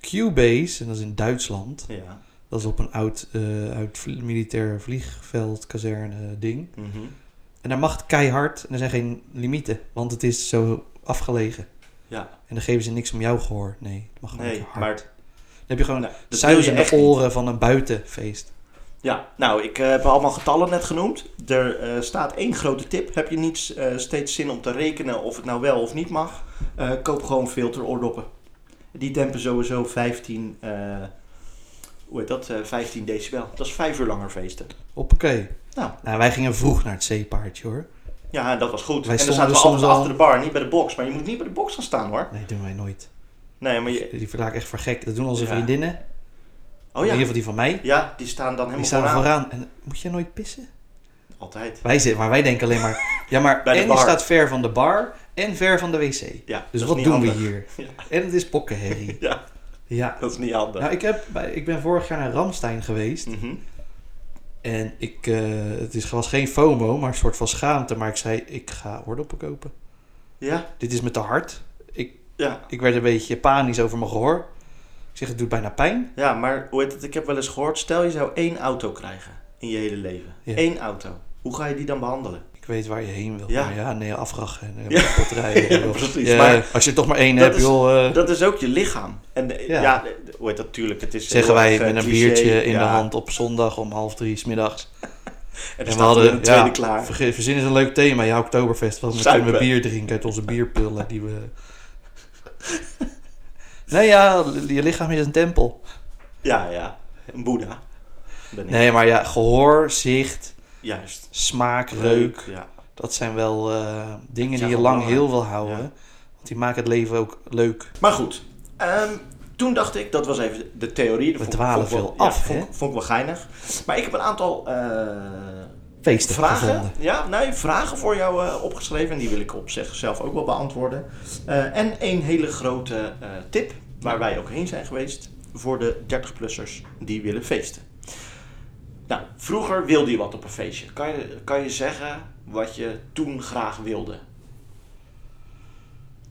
S3: Cubase, en dat is in Duitsland.
S4: Ja.
S3: Dat is op een oud, eh oud vlie- militair vliegveld, kazerne ding.
S4: Mhm.
S3: En daar mag het keihard en er zijn geen limieten, want het is zo afgelegen.
S4: Ja.
S3: En dan geven ze niks om jouw gehoor. Nee, het mag gewoon
S4: Nee,
S3: lekker hard.
S4: maar
S3: Dan heb je gewoon
S4: Nou, dat wil
S3: zuis
S4: je
S3: in de
S4: echt
S3: oren van een buitenfeest.
S4: Ja, nou, ik eh, heb allemaal getallen net genoemd. Er eh, staat één grote tip. Heb je niet eh, steeds zin om te rekenen of het nou wel of niet mag? eh, koop gewoon filteroordoppen. Die dempen sowieso 15, eh, hoe heet dat? Eh, 15 decibel. Dat is vijf uur langer feesten.
S3: Hoppakee.
S4: Nou.
S3: wij gingen vroeg naar het zeepaardje hoor.
S4: Ja, en dat was goed.
S3: Wij
S4: en
S3: stonden
S4: dan zaten we altijd
S3: soms al-
S4: achter de bar, niet bij de box. Maar je moet niet bij de box gaan staan hoor.
S3: Nee, doen wij nooit.
S4: Nee, maar je...
S3: Die verlaat ik echt voor gek. Dat doen onze
S4: Ja.
S3: vriendinnen.
S4: Oh
S3: In ieder
S4: ja.
S3: geval die van mij.
S4: Ja, die staan dan helemaal
S3: Die staan
S4: vooraan.
S3: vooraan. En, moet je nooit pissen?
S4: Altijd.
S3: Wij zitten, maar wij denken alleen maar... Ja, maar
S4: Bij de
S3: en je
S4: bar.
S3: staat ver van de bar en ver van de wc.
S4: Ja, dat
S3: Dus
S4: is
S3: wat
S4: niet
S3: doen
S4: handig.
S3: we hier?
S4: Ja.
S3: En het is pokkenherrie.
S4: Ja.
S3: Ja.
S4: Dat is niet handig.
S3: Nou, ik, heb, bij- ik ben vorig jaar naar Ramstein geweest.
S4: Mhm.
S3: En ik, eh, het is, was geen FOMO, maar een soort van schaamte. Maar ik zei, ik ga oordoppen kopen.
S4: Ja,
S3: Dit is me te hard. Ik,
S4: ja.
S3: ik werd een beetje panisch over mijn gehoor. Ik zeg, het doet bijna pijn.
S4: Ja, maar hoe heet het? Ik heb wel eens gehoord, stel je zou één auto krijgen in je hele leven.
S3: Ja.
S4: Eén auto. Hoe ga je die dan behandelen?
S3: Ik weet waar je heen wil.
S4: Ja.
S3: Maar ja, nee, afrachen en
S4: Ja.
S3: ja. rijden.
S4: Ja,
S3: joh.
S4: precies,
S3: Ja,
S4: maar-
S3: als je toch maar één
S4: Dat
S3: hebt,
S4: is-
S3: joh. eh,
S4: Dat is ook je lichaam. En eh, ja,
S3: Ja.
S4: eh, hoe heet dat? Tuurlijk, het is
S3: zeggen
S4: heel
S3: wij
S4: erg, eh,
S3: met een
S4: cliché.
S3: biertje in de
S4: Ja.
S3: hand op zondag om half drie 's middags.
S4: En, we hadden een tweede klaar.
S3: verge- Verzin is een leuk thema. Ja, Oktoberfest. Want dan
S4: Zuipen.
S3: kunnen we bier drinken uit onze bierpullen die we... nee, ja, je lichaam is een tempel.
S4: Ja, ja. Een boeddha. Ben ik.
S3: Nee, maar ja, gehoor, zicht,
S4: Juist.
S3: smaak, reuk.
S4: Ja.
S3: Dat zijn wel eh, dingen die je
S4: zijn wel
S3: lang
S4: belangrijk.
S3: heel wil houden.
S4: Ja.
S3: Want die maken het leven ook leuk.
S4: Maar goed, ehm, toen dacht ik, dat was even de theorie. Dat
S3: We
S4: vond-
S3: dwalen
S4: vond ik wel-
S3: veel af,
S4: ja, vond,
S3: hè?
S4: vond ik wel geinig. Maar ik heb een aantal eh,
S3: Feesten
S4: vragen,
S3: gevonden.
S4: ja, nee, vragen voor jou eh, opgeschreven. En die wil ik op zichzelf ook wel beantwoorden. Eh, en één hele grote eh, tip, waar wij ook heen zijn geweest, voor de 30-plussers die willen feesten. Nou, vroeger wilde je wat op een feestje. Kan je, kan je zeggen wat je toen graag wilde?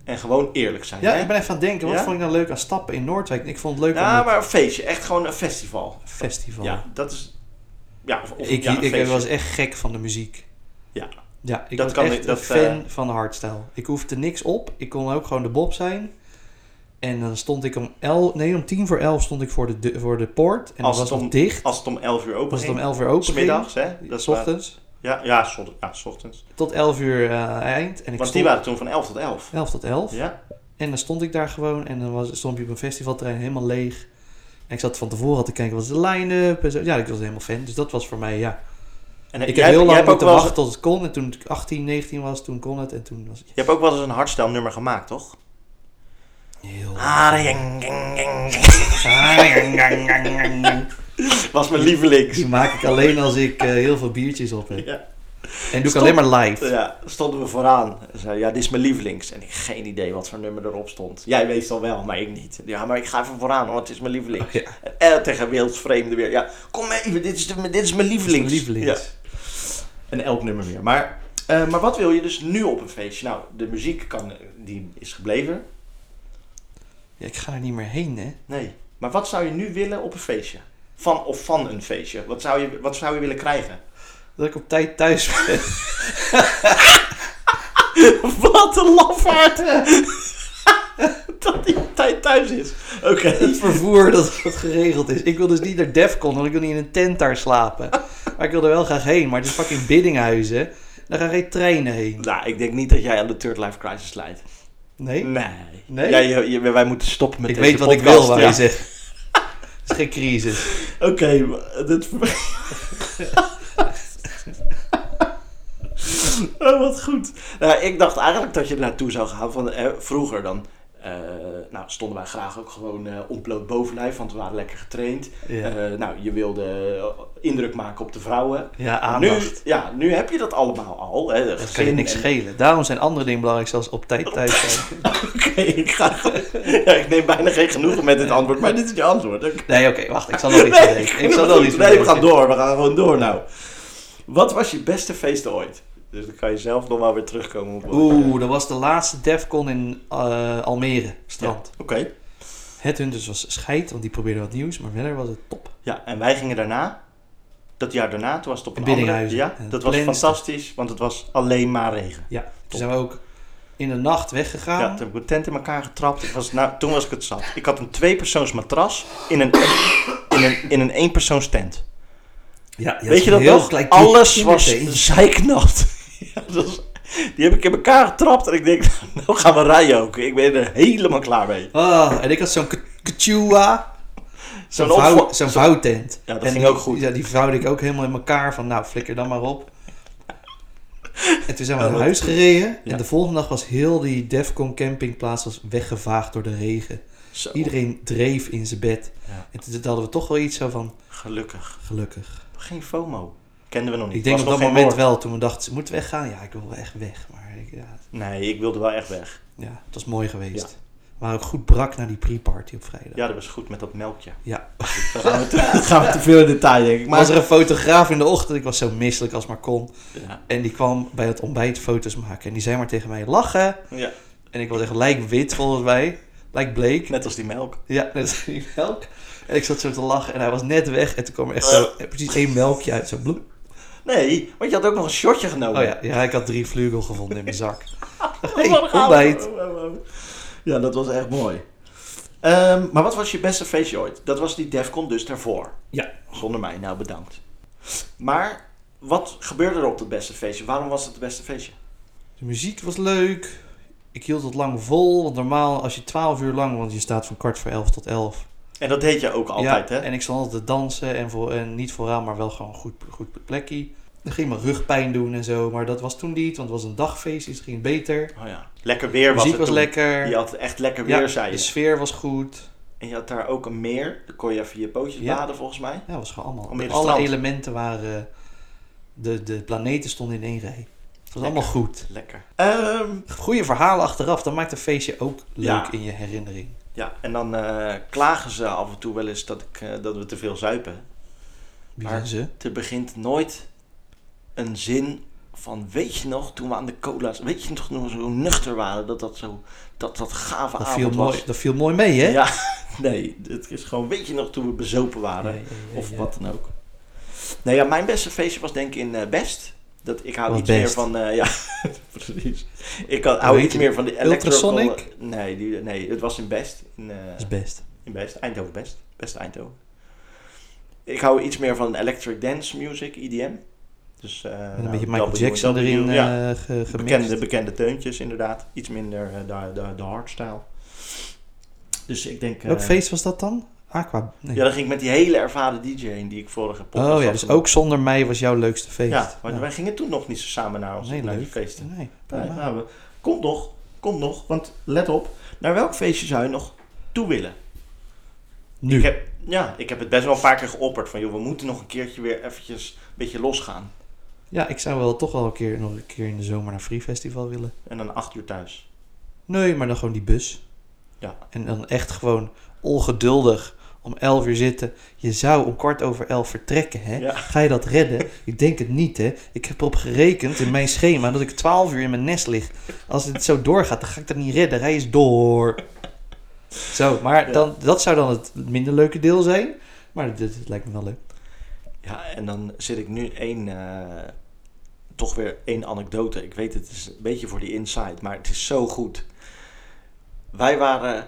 S4: En gewoon eerlijk zijn.
S3: Ja,
S4: hè?
S3: ik ben even aan het denken. Wat
S4: Ja?
S3: vond ik nou leuk aan stappen in Noordwijk? Ik vond het leuk
S4: Ja,
S3: om
S4: maar een feestje. Echt gewoon een festival.
S3: het festival.
S4: Ja, dat is... Ja, of, of-
S3: ik
S4: ja, een
S3: ik
S4: feestje.
S3: was echt gek van de muziek.
S4: Ja,
S3: Ja, ik
S4: Dat
S3: was
S4: kan
S3: echt
S4: ik- dat, eh,
S3: een fan van de hardstyle. Ik hoefde niks op. Ik kon ook gewoon de bob zijn. En dan stond ik om, el, nee, om tien voor elf stond ik voor de, de- voor de poort. En
S4: Als
S3: dan was
S4: het
S3: het
S4: om-
S3: nog dicht.
S4: als het om 11 uur open
S3: was het om
S4: ging.
S3: elf uur open. ging.
S4: Smiddags, hè? Dat is waar.
S3: ochtends.
S4: Ja, ja, zon- ja, s ochtends.
S3: Tot 11 uur eh, eind. En ik
S4: Want die
S3: stond
S4: waren toen van 11 tot 11.
S3: 11 tot 11.
S4: Ja,
S3: En dan stond ik daar gewoon. En dan was, stond je op een festivalterrein helemaal leeg. En ik zat van tevoren al te kijken, wat is de line-up? En zo. Ja, ik was helemaal fan. Dus dat was voor mij, ja.
S4: en
S3: Ik
S4: jij-
S3: heb heel
S4: jij
S3: lang
S4: hebt ook
S3: moeten
S4: wel eens-
S3: wachten tot het kon. En toen ik 18, 19 was, toen kon het. En toen was het
S4: Je hebt ook wel eens een hardstyle nummer gemaakt, toch?
S3: heel...
S4: Was mijn lievelings.
S3: Die maak ik alleen als ik eh, heel veel biertjes op heb.
S4: Ja.
S3: En doe ik
S4: Stop.
S3: alleen maar live.
S4: ja, stonden we vooraan. En zei, ja, dit is mijn lievelings. En ik geen idee wat voor nummer erop stond. Jij weet het al wel, maar ik niet. Ja, maar ik ga even vooraan, want het is mijn lievelings.
S3: Oh, ja.
S4: En, eh, tegen wildsvreemden weer. Ja, kom even, dit is, de, dit is mijn lievelings.
S3: Lievelings.
S4: Ja. En elk nummer weer. Maar, eh, maar wat wil je dus nu op een feestje? Nou, de muziek kan, die is gebleven.
S3: Ja, ik ga er niet meer heen, hè.
S4: Nee. Maar wat zou je nu willen op een feestje? Van of van een feestje? Wat zou je, wat zou je willen krijgen?
S3: Dat ik op tijd thuis ben.
S4: wat een lafaard! dat hij op tijd thuis is. Oké.
S3: het vervoer dat, dat geregeld is. Ik wil dus niet naar Defcon, want ik wil niet in een tent daar slapen. Maar ik wil er wel graag heen, maar het is fucking Biddinghuizen. Daar gaan geen treinen heen.
S4: Nou, ik denk niet dat jij aan de Third Life Crisis leidt.
S3: Nee?
S4: Nee.
S3: Nee?
S4: Jij- je- je- wij moeten stoppen met
S3: ik
S4: deze
S3: weet wat ik
S4: podcast,
S3: wil, waar
S4: ja.
S3: je zegt. Het is geen crisis.
S4: Oké, maar dit... oh, wat goed. Nou, ik dacht eigenlijk dat je er naartoe zou gaan van eh, vroeger dan. eh, nou, stonden wij graag ook gewoon eh ontbloot bovenlijf, want we waren lekker getraind.
S3: Ja.
S4: Eh, nou, je wilde eh, indruk maken op de vrouwen.
S3: Ja,
S4: Nu,
S3: aandacht.
S4: ja, nu heb je dat allemaal al. Hè,
S3: Dat kan je niks schelen. Daarom zijn andere dingen belangrijk, zoals op tijd
S4: Oh.
S3: thuis zijn.
S4: Oké, ik, ga... ja, ik neem bijna geen genoegen met dit antwoord, maar dit is je antwoord. Oké.
S3: Nee, oké, wacht. Ik zal nog iets
S4: Nee,
S3: bedenken. Ik zal nog
S4: goed.
S3: iets
S4: Nee, we
S3: bedenken.
S4: gaan door. We gaan gewoon door nou. Wat was je beste feest ooit? Dus dan kan je zelf nog wel weer terugkomen op wat-
S3: Oeh, dat was de laatste Defcon in eh, Almere,
S4: Ja,
S3: strand.
S4: Oké.
S3: Het hun dus was scheid, want die probeerde wat nieuws. Maar verder was het top.
S4: Ja, en wij gingen daarna. Dat jaar daarna, toen was het op een
S3: In Biddinghuizen.
S4: andere... Ja,
S3: En
S4: dat was
S3: Planston.
S4: fantastisch, want het was alleen maar regen.
S3: Ja, toen zijn we ook in de nacht weggegaan.
S4: Ja, toen heb ik mijn tent in elkaar getrapt. Ik was, nou, toen was ik het zat. Ik had een tweepersoons matras in een, in een, in een eenpersoons tent.
S3: Ja,
S4: Weet je dat nog? Alles was zeiknat. Ja, dat was- die heb ik in elkaar getrapt en ik denk, nou gaan we rijden ook. Ik ben er helemaal klaar mee.
S3: Ah, en ik had zo'n k- kachua. Zo'n
S4: Zo'n opvo-
S3: vouw- zo'n vouwtent.
S4: Ja, dat
S3: en
S4: ging
S3: die-
S4: ook goed.
S3: Ja, die vouwde ik ook helemaal in elkaar. Van nou, flikker dan maar op. En toen zijn we naar
S4: Ja, dat-
S3: huis gereden.
S4: Ja.
S3: En de volgende dag was heel die Defcon campingplaats was weggevaagd door de regen.
S4: Zo,
S3: Iedereen dreef in zijn bed.
S4: Ja.
S3: En toen toen hadden we toch wel iets zo van,
S4: gelukkig.
S3: gelukkig.
S4: Geen FOMO. Kenden we nog niet.
S3: Ik denk
S4: Was
S3: op dat
S4: nog geen
S3: moment
S4: woord.
S3: wel, toen we dachten, moeten we weggaan? Ja, ik wil wel echt weg. Maar ik, ja,
S4: Nee, ik wilde wel echt weg.
S3: Ja, het was mooi geweest. We waren ook goed brak na die pre-party op vrijdag.
S4: Ja, dat was goed met dat melkje.
S3: Ja.
S4: Daar gaan we te, daar gaan we te veel in detail, denk ik.
S3: Maar was
S4: Maar,
S3: er een fotograaf in de ochtend, ik was zo misselijk als maar kon.
S4: ja.
S3: En die kwam bij het ontbijt foto's maken. En die zei maar tegen mij, lachen.
S4: Ja,
S3: En ik was echt lijk wit volgens mij. Lijk bleek.
S4: net als die melk.
S3: Ja, net als die melk. En ik zat zo te lachen en hij was net weg. En toen kwam er echt zo, eh, precies één melkje uit. Zo bloep.
S4: Nee, want je had ook nog een shotje genomen.
S3: Oh ja, ja, ik had drie vlugel gevonden in mijn zak.
S4: Hey,
S3: Wat een ontbijt.
S4: goud. Oh, oh, oh. Ja, dat was echt mooi. Ehm, maar wat was je beste feestje ooit? Dat was die Defcon dus daarvoor.
S3: Ja.
S4: Zonder mij, nou bedankt. Maar wat gebeurde er op dat beste feestje? Waarom was het het beste feestje?
S3: De muziek was leuk. Ik hield het lang vol. Want normaal als je 12 uur lang, want je staat van kwart voor 11 tot 11.
S4: En dat deed je ook altijd,
S3: ja,
S4: hè?
S3: En ik stond altijd te dansen en, voor, en niet vooraan, maar wel gewoon goed, goed plekje. Dan ging mijn rugpijn doen en zo, maar dat was toen niet, want het was een dagfeest, dus het ging beter.
S4: Oh ja. Lekker weer was
S3: muziek
S4: het
S3: was
S4: toen.
S3: lekker.
S4: Je had echt lekker
S3: Ja, dus-
S4: weer, zei
S3: de
S4: je.
S3: sfeer was goed.
S4: En je had daar ook een meer. Daar kon je even je pootjes
S3: Ja.
S4: baden, volgens mij.
S3: Ja, het was gewoon allemaal.
S4: Almere
S3: alle
S4: strand.
S3: elementen waren. De, de planeten stonden in één rij. Het was allemaal goed.
S4: Lekker. Ehm,
S3: Goede verhalen achteraf, dat maakt een feestje ook leuk
S4: Ja.
S3: in je herinnering.
S4: ja, en dan eh, klagen ze af en toe wel eens dat, ik, eh, dat we te veel zuipen.
S3: Wie
S4: Maar-
S3: zijn ze?
S4: Er begint nooit een zin van weet je nog toen we aan de cola's, weet je nog toen we zo nuchter waren dat dat zo dat dat gave
S3: Dat viel,
S4: avond
S3: mooi,
S4: was.
S3: dat viel mooi mee, hè?
S4: Ja, nee, het is gewoon weet je nog toen we bezopen
S3: Ja,
S4: waren
S3: ja, ja,
S4: of
S3: ja.
S4: wat dan ook. Nou ja, mijn beste feestje was denk ik in eh, Best. Dat ik hou
S3: Was
S4: iets meer
S3: Best.
S4: van eh, ja, precies. Ik had- hou
S3: Weet
S4: iets
S3: je,
S4: meer van de
S3: Ultrasonic?
S4: electrical- Nee, die, nee, het was in Best in eh,
S3: Dat is best.
S4: in Best, Eindhoven Best. Best Eindhoven. Ik hou iets meer van electric dance music, EDM. Dus, eh,
S3: Met een
S4: nou,
S3: beetje Michael
S4: W-
S3: Jackson
S4: W-
S3: erin
S4: Ja,
S3: eh, ge- gemixt.
S4: bekende, bekende teuntjes inderdaad. Iets minder eh, de, de, de hardstyle. Dus ik denk... eh,
S3: Welk feest was dat dan? Aqua? Nee.
S4: Ja, dan ging ik met die hele ervaren DJ heen die ik vorige podcast
S3: oh ja,
S4: had
S3: dus
S4: gemaakt.
S3: ook zonder mij was jouw leukste feest.
S4: Ja, maar
S3: Ja.
S4: wij gingen toen nog niet zo samen naar onze
S3: Nee,
S4: naar die
S3: leuk.
S4: feesten.
S3: Nee,
S4: Nee,
S3: prima.
S4: nou, we- komt nog, komt nog. Want let op, naar welk feestje zou je nog toe willen?
S3: nu.
S4: Ik heb, ja, ik heb het best wel een paar keer geopperd van, joh, we moeten nog een keertje weer eventjes een beetje losgaan.
S3: Ja, ik zou wel toch wel een keer, nog een keer in de zomer naar Free Festival willen.
S4: En dan acht uur thuis.
S3: Nee, maar dan gewoon die bus.
S4: Ja.
S3: En dan echt gewoon ongeduldig om 11 uur zitten. Je zou om kwart over 11 vertrekken, hè?
S4: Ja.
S3: Ga je dat redden? ik denk het niet, hè? Ik heb erop gerekend in mijn schema dat ik 12 uur in mijn nest lig. Als het zo doorgaat, dan ga ik dat niet redden. Rij eens door. Zo, maar
S4: Ja.
S3: dan, dat zou dan het minder leuke deel zijn. Maar dit, dit lijkt me wel leuk.
S4: Ja, en dan zit ik nu één, eh, toch weer één anekdote. Ik weet het is een beetje voor die inside, maar het is zo goed. Wij waren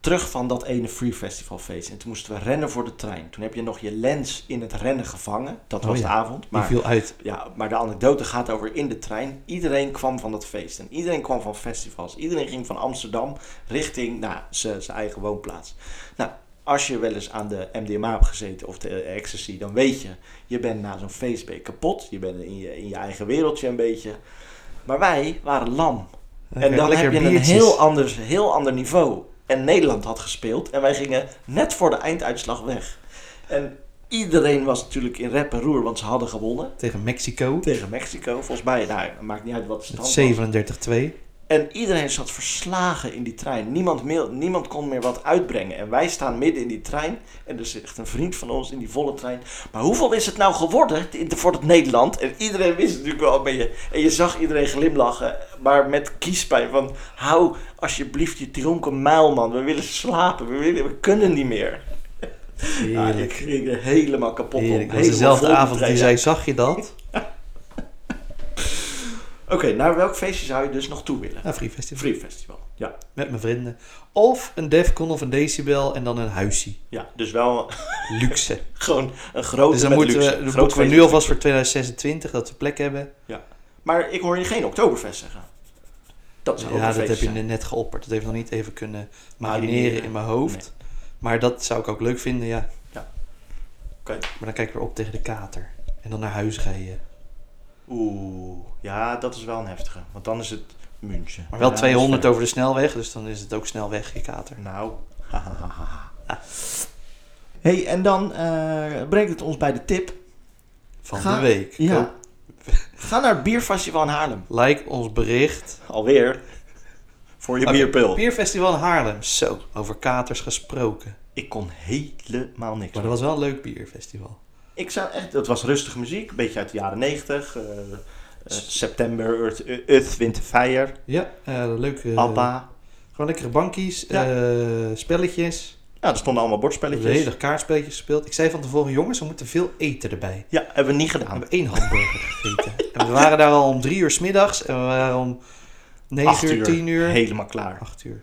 S4: terug van dat ene Free Festival feest en toen moesten we rennen voor de trein. Toen heb je nog je lens in het rennen gevangen. Dat
S3: Oh
S4: was
S3: ja.
S4: de avond.
S3: Die
S4: Maar
S3: viel uit.
S4: Ja, maar de anekdote gaat over in de trein. Iedereen kwam van dat feest en iedereen kwam van festivals. Iedereen ging van Amsterdam richting nou, zijn eigen woonplaats. Nou, als je wel eens aan de MDMA hebt gezeten of de eh, ecstasy, dan weet je, je bent na zo'n feest ben je kapot. Je bent in je, in je eigen wereldje een beetje. Maar wij waren lam. En dan heb je een heel ander, heel ander niveau. En Nederland had gespeeld en wij gingen net voor de einduitslag weg. En iedereen was natuurlijk in rep en roer, want ze hadden gewonnen
S3: Tegen Mexico.
S4: tegen Mexico, volgens mij. Nou, het maakt niet uit wat de stand
S3: Met
S4: was.
S3: 37-2.
S4: En iedereen zat verslagen in die trein. Niemand, mail- niemand kon meer wat uitbrengen. En wij staan midden in die trein. En er zit echt een vriend van ons in die volle trein. Maar hoeveel is het nou geworden in- voor het Nederland? En iedereen wist het natuurlijk wel een beetje. En je zag iedereen glimlachen. Maar met kiespijn van... Hou alsjeblieft je dronken muil, man. We willen slapen. We, willen, we kunnen niet meer. Ja, ik
S3: Heerlijk.
S4: ging er helemaal kapot op.
S3: Heerlijk. Het was
S4: Helemaal
S3: dezelfde
S4: vol die
S3: avond die
S4: trein.
S3: zei, zag je dat?
S4: Oké, naar welk feestje zou je dus nog toe willen?
S3: Ja, Free Festival.
S4: Free Festival. Ja.
S3: Met mijn vrienden. Of een Defcon of een Decibel en dan een huisje.
S4: Ja, dus wel
S3: Luxe.
S4: gewoon een grote
S3: dus dan
S4: met
S3: moeten
S4: luxe.
S3: we, dan
S4: Groot
S3: boeken we
S4: feest.
S3: nu alvast voor 2026 dat we plek hebben.
S4: Maar ik hoor je geen Oktoberfest zeggen. Dat zou ook
S3: ja,
S4: een
S3: dat heb
S4: feest
S3: je
S4: zijn.
S3: net geopperd. Dat heeft nog niet even kunnen
S4: Marineren.
S3: marineren in mijn hoofd. Maar dat zou ik ook leuk vinden, ja.
S4: Ja. Oké.
S3: Oké. Maar dan kijk ik weer op tegen de kater. En dan naar huis rijden.
S4: Oeh, ja, dat is wel een heftige. Want dan is het München.
S3: Maar wel
S4: Ja,
S3: 200
S4: dat is
S3: over de snelweg, dus dan is het ook snel weg, je kater.
S4: ver. Nou. hey, en dan eh, brengt het ons bij de tip. eh,
S3: Van
S4: Ga-
S3: de week.
S4: Ja. Ga naar het bierfestival in Haarlem.
S3: Like ons bericht.
S4: Alweer. Voor je
S3: Oké,
S4: bierpil.
S3: Bierfestival in Haarlem. Zo, over katers gesproken.
S4: Ik kon helemaal niks.
S3: Maar dat was wel een leuk bierfestival.
S4: Ik zou echt, het was rustige muziek, een beetje uit de jaren 90. eh, eh, september, Earth, Earth, Wind Fire,
S3: Ja, eh, leuk. eh,
S4: ABBA.
S3: Gewoon lekkere bankjes,
S4: Ja.
S3: eh, spelletjes.
S4: Ja, er stonden allemaal
S3: We
S4: bordspelletjes.
S3: hebben hele dag kaartspelletjes gespeeld. Ik zei van tevoren, jongens, we moeten veel eten erbij.
S4: Ja, hebben we niet
S3: We
S4: gedaan.
S3: hebben één hamburger gegeten. En we waren daar al om drie uur 's middags en we waren om
S4: Acht
S3: negen uur, tien uur.
S4: Helemaal klaar.
S3: Acht uur.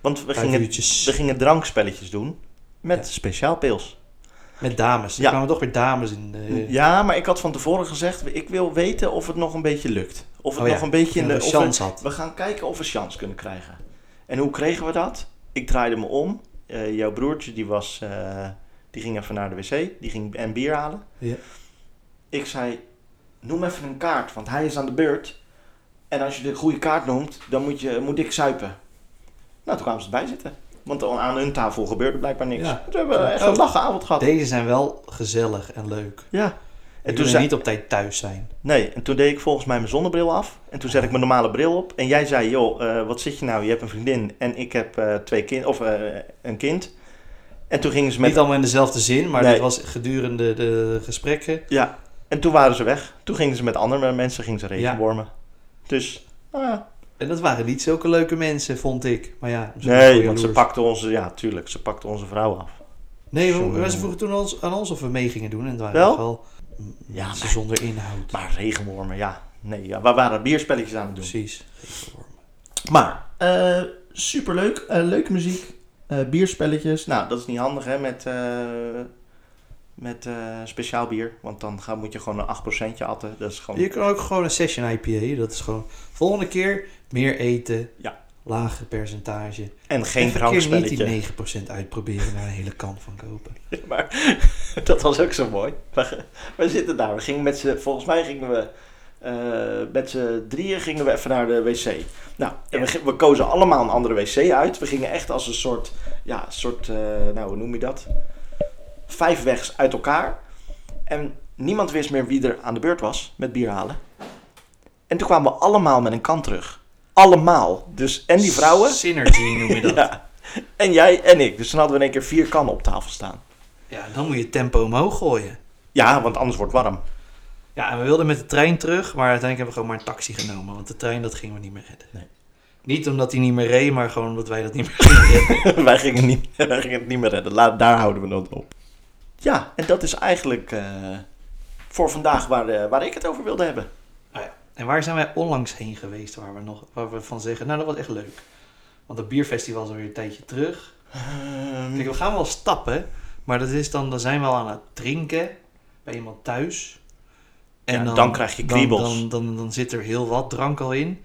S4: Want we
S3: Vijf
S4: gingen,
S3: uurtjes.
S4: we gingen drankspelletjes doen met speciaal pils.
S3: Met dames. Er
S4: Ja.
S3: kwamen toch weer dames in. eh,
S4: Ja, maar ik had van tevoren gezegd, ik wil weten of het nog een beetje lukt. Of het
S3: Oh ja,
S4: nog een beetje in
S3: of
S4: de...
S3: je
S4: of
S3: kans
S4: we-
S3: had.
S4: We gaan kijken of we chance kunnen krijgen. En hoe kregen we dat? Ik draaide me om. Eh, jouw broertje, die was... eh, die ging even naar de wc. Die ging en bier halen.
S3: Ja.
S4: Ik zei, noem even een kaart, want hij is aan de beurt. En als je de goede kaart noemt, dan moet, je, moet ik zuipen. Nou, toen kwamen ze erbij zitten. Want al aan hun tafel gebeurde blijkbaar niks.
S3: Ja.
S4: Dus we hebben echt een
S3: Oh.
S4: lachenavond gehad.
S3: Deze zijn wel gezellig en leuk.
S4: Ja.
S3: En
S4: En
S3: toen
S4: toen, zei,
S3: niet op tijd thuis zijn.
S4: nee, en toen deed ik volgens mij mijn zonnebril af. En toen zet ik mijn normale bril op. En jij zei, joh, eh, wat zit je nou? Je hebt een vriendin en ik heb eh, twee kind, of eh, een kind. En toen gingen ze met...
S3: Niet allemaal in dezelfde zin, maar
S4: Nee.
S3: dit was gedurende de gesprekken.
S4: Ja, en toen waren ze weg. Toen gingen ze met andere mensen gingen ze regenwormen. Dus, nou ja.
S3: En dat waren niet zulke leuke mensen, vond ik. Maar ja, ze waren
S4: Nee,
S3: wel
S4: want ze
S3: jaloers.
S4: pakte onze, ja, tuurlijk, ze pakte onze vrouw af.
S3: Nee, we-
S4: Jongen,
S3: maar ze
S4: jongen.
S3: vroegen toen ons, aan ons of we mee gingen doen. En het waren
S4: Wel?
S3: toch wel ja,
S4: Ja,
S3: mensen
S4: maar-
S3: zonder inhoud.
S4: Maar regenwormen, ja. Nee, ja, we waren bierspelletjes aan het doen.
S3: Precies.
S4: Maar, eh, superleuk, eh, leuke muziek, eh, bierspelletjes. Nou, dat is niet handig, hè, met, eh, met eh, speciaal bier. Want dan ga, moet je gewoon een 8% atten. Dat is gewoon...
S3: Je kan ook gewoon een session IPA. Dat is gewoon volgende keer meer eten.
S4: Ja.
S3: Lager percentage.
S4: En geen
S3: Even een keer
S4: drankspelletje.
S3: niet die 9% uitproberen naar een hele kan van kopen.
S4: Maar dat was ook zo mooi. We, we zitten daar. We gingen met z'n, volgens mij gingen we eh, met z'n drieën gingen we even naar de wc. Nou, en we, ge- we kozen allemaal een andere wc uit. We gingen echt als een soort, ja, soort, eh, nou hoe noem je dat? Vijfwegs uit elkaar. En niemand wist meer wie er aan de beurt was met bier halen. En toen kwamen we allemaal met een kan terug. Allemaal. Dus en die vrouwen.
S3: Synergy noem je dat. ja.
S4: Ja. En jij en ik. Dus dan hadden we in één keer vier kannen op tafel staan.
S3: dan moet je het tempo omhoog gooien.
S4: Ja, want anders wordt het warm.
S3: Ja, en we wilden met de trein terug, maar uiteindelijk hebben we gewoon maar een taxi genomen. Want de trein, dat gingen we niet meer redden.
S4: Nee.
S3: Niet omdat hij niet meer reed, maar gewoon omdat wij dat niet meer gingen redden.
S4: wij, gingen niet, wij gingen het niet meer redden. Laat, daar houden we het op. Ja, en dat is eigenlijk eh, voor vandaag waar, eh, waar ik het over wilde hebben.
S3: Ah ja. En waar zijn wij onlangs heen geweest waar we, nog, waar we van zeggen, nou dat was echt leuk. Want dat bierfestival is alweer een tijdje terug.
S4: Ehm.
S3: Kijk, we gaan wel stappen, maar dat is dan, dan zijn we al aan het drinken bij iemand thuis.
S4: Ja, dan krijg je kriebels.
S3: Dan, dan, dan, dan zit er heel wat drank al in.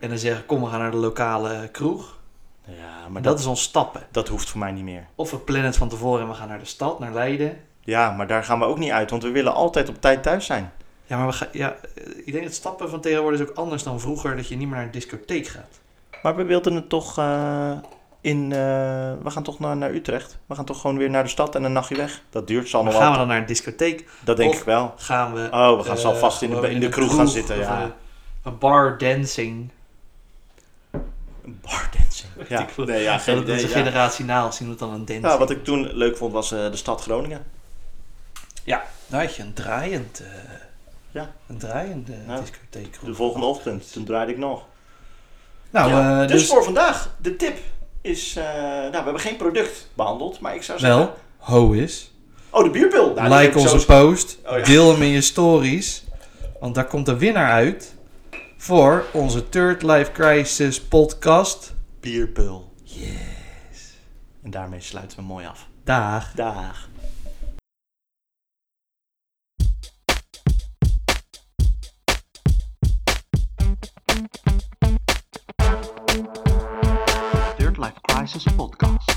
S3: En dan zeggen kom, we gaan naar de lokale kroeg.
S4: ja,
S3: Maar
S4: maar
S3: dat,
S4: dat,
S3: is ons stappen.
S4: dat hoeft voor mij niet meer.
S3: Of we plannen het van tevoren en we gaan naar de stad, naar Leiden.
S4: Ja, maar daar gaan we ook niet uit, want we willen altijd op tijd thuis zijn.
S3: Ja, maar we gaan, ja, eh, ik denk dat stappen van tegenwoordig is ook anders dan vroeger, dat je niet meer naar een discotheek gaat.
S4: Maar we wilden het toch eh, in... eh, we gaan toch naar, naar Utrecht. We gaan toch gewoon weer naar de stad en een nachtje weg. Dat duurt zal
S3: Maar
S4: nog
S3: gaan we
S4: wel.
S3: dan naar een discotheek?
S4: Dat denk
S3: of-
S4: ik wel.
S3: Gaan we.
S4: Oh, we gaan
S3: eh,
S4: zo vast in de-
S3: gewoon
S4: in de kroeg gaan zitten,
S3: of
S4: ja.
S3: Een, een bar dancing.
S4: Bardancing. Ja,
S3: Ik voel-
S4: nee, ja, geen
S3: dat
S4: idee,
S3: onze
S4: ja.
S3: generatie na ons zien we dan een dancing.
S4: Ja, wat ik toen leuk vond was eh, de stad Groningen.
S3: Ja, nou had je een draaiend, eh,
S4: Ja.
S3: een draaiende
S4: Ja.
S3: discotheek.
S4: De volgende ochtend, toen draaide ik nog.
S3: Nou,
S4: Ja,
S3: eh,
S4: dus,
S3: dus,
S4: voor vandaag, de tip is... eh, nou, we hebben geen product behandeld, maar ik zou zeggen...
S3: wel, ho is.
S4: Oh, de bierpil. Nou, die heb
S3: like
S4: ik
S3: onze
S4: zo-
S3: post,
S4: Oh, ja.
S3: deel hem in je stories, want daar komt de winnaar uit voor onze Third Life Crisis podcast.
S4: Bierpil. Yes. En daarmee sluiten we mooi af.
S3: Daag.
S4: Dag. Third Life Crisis Podcast.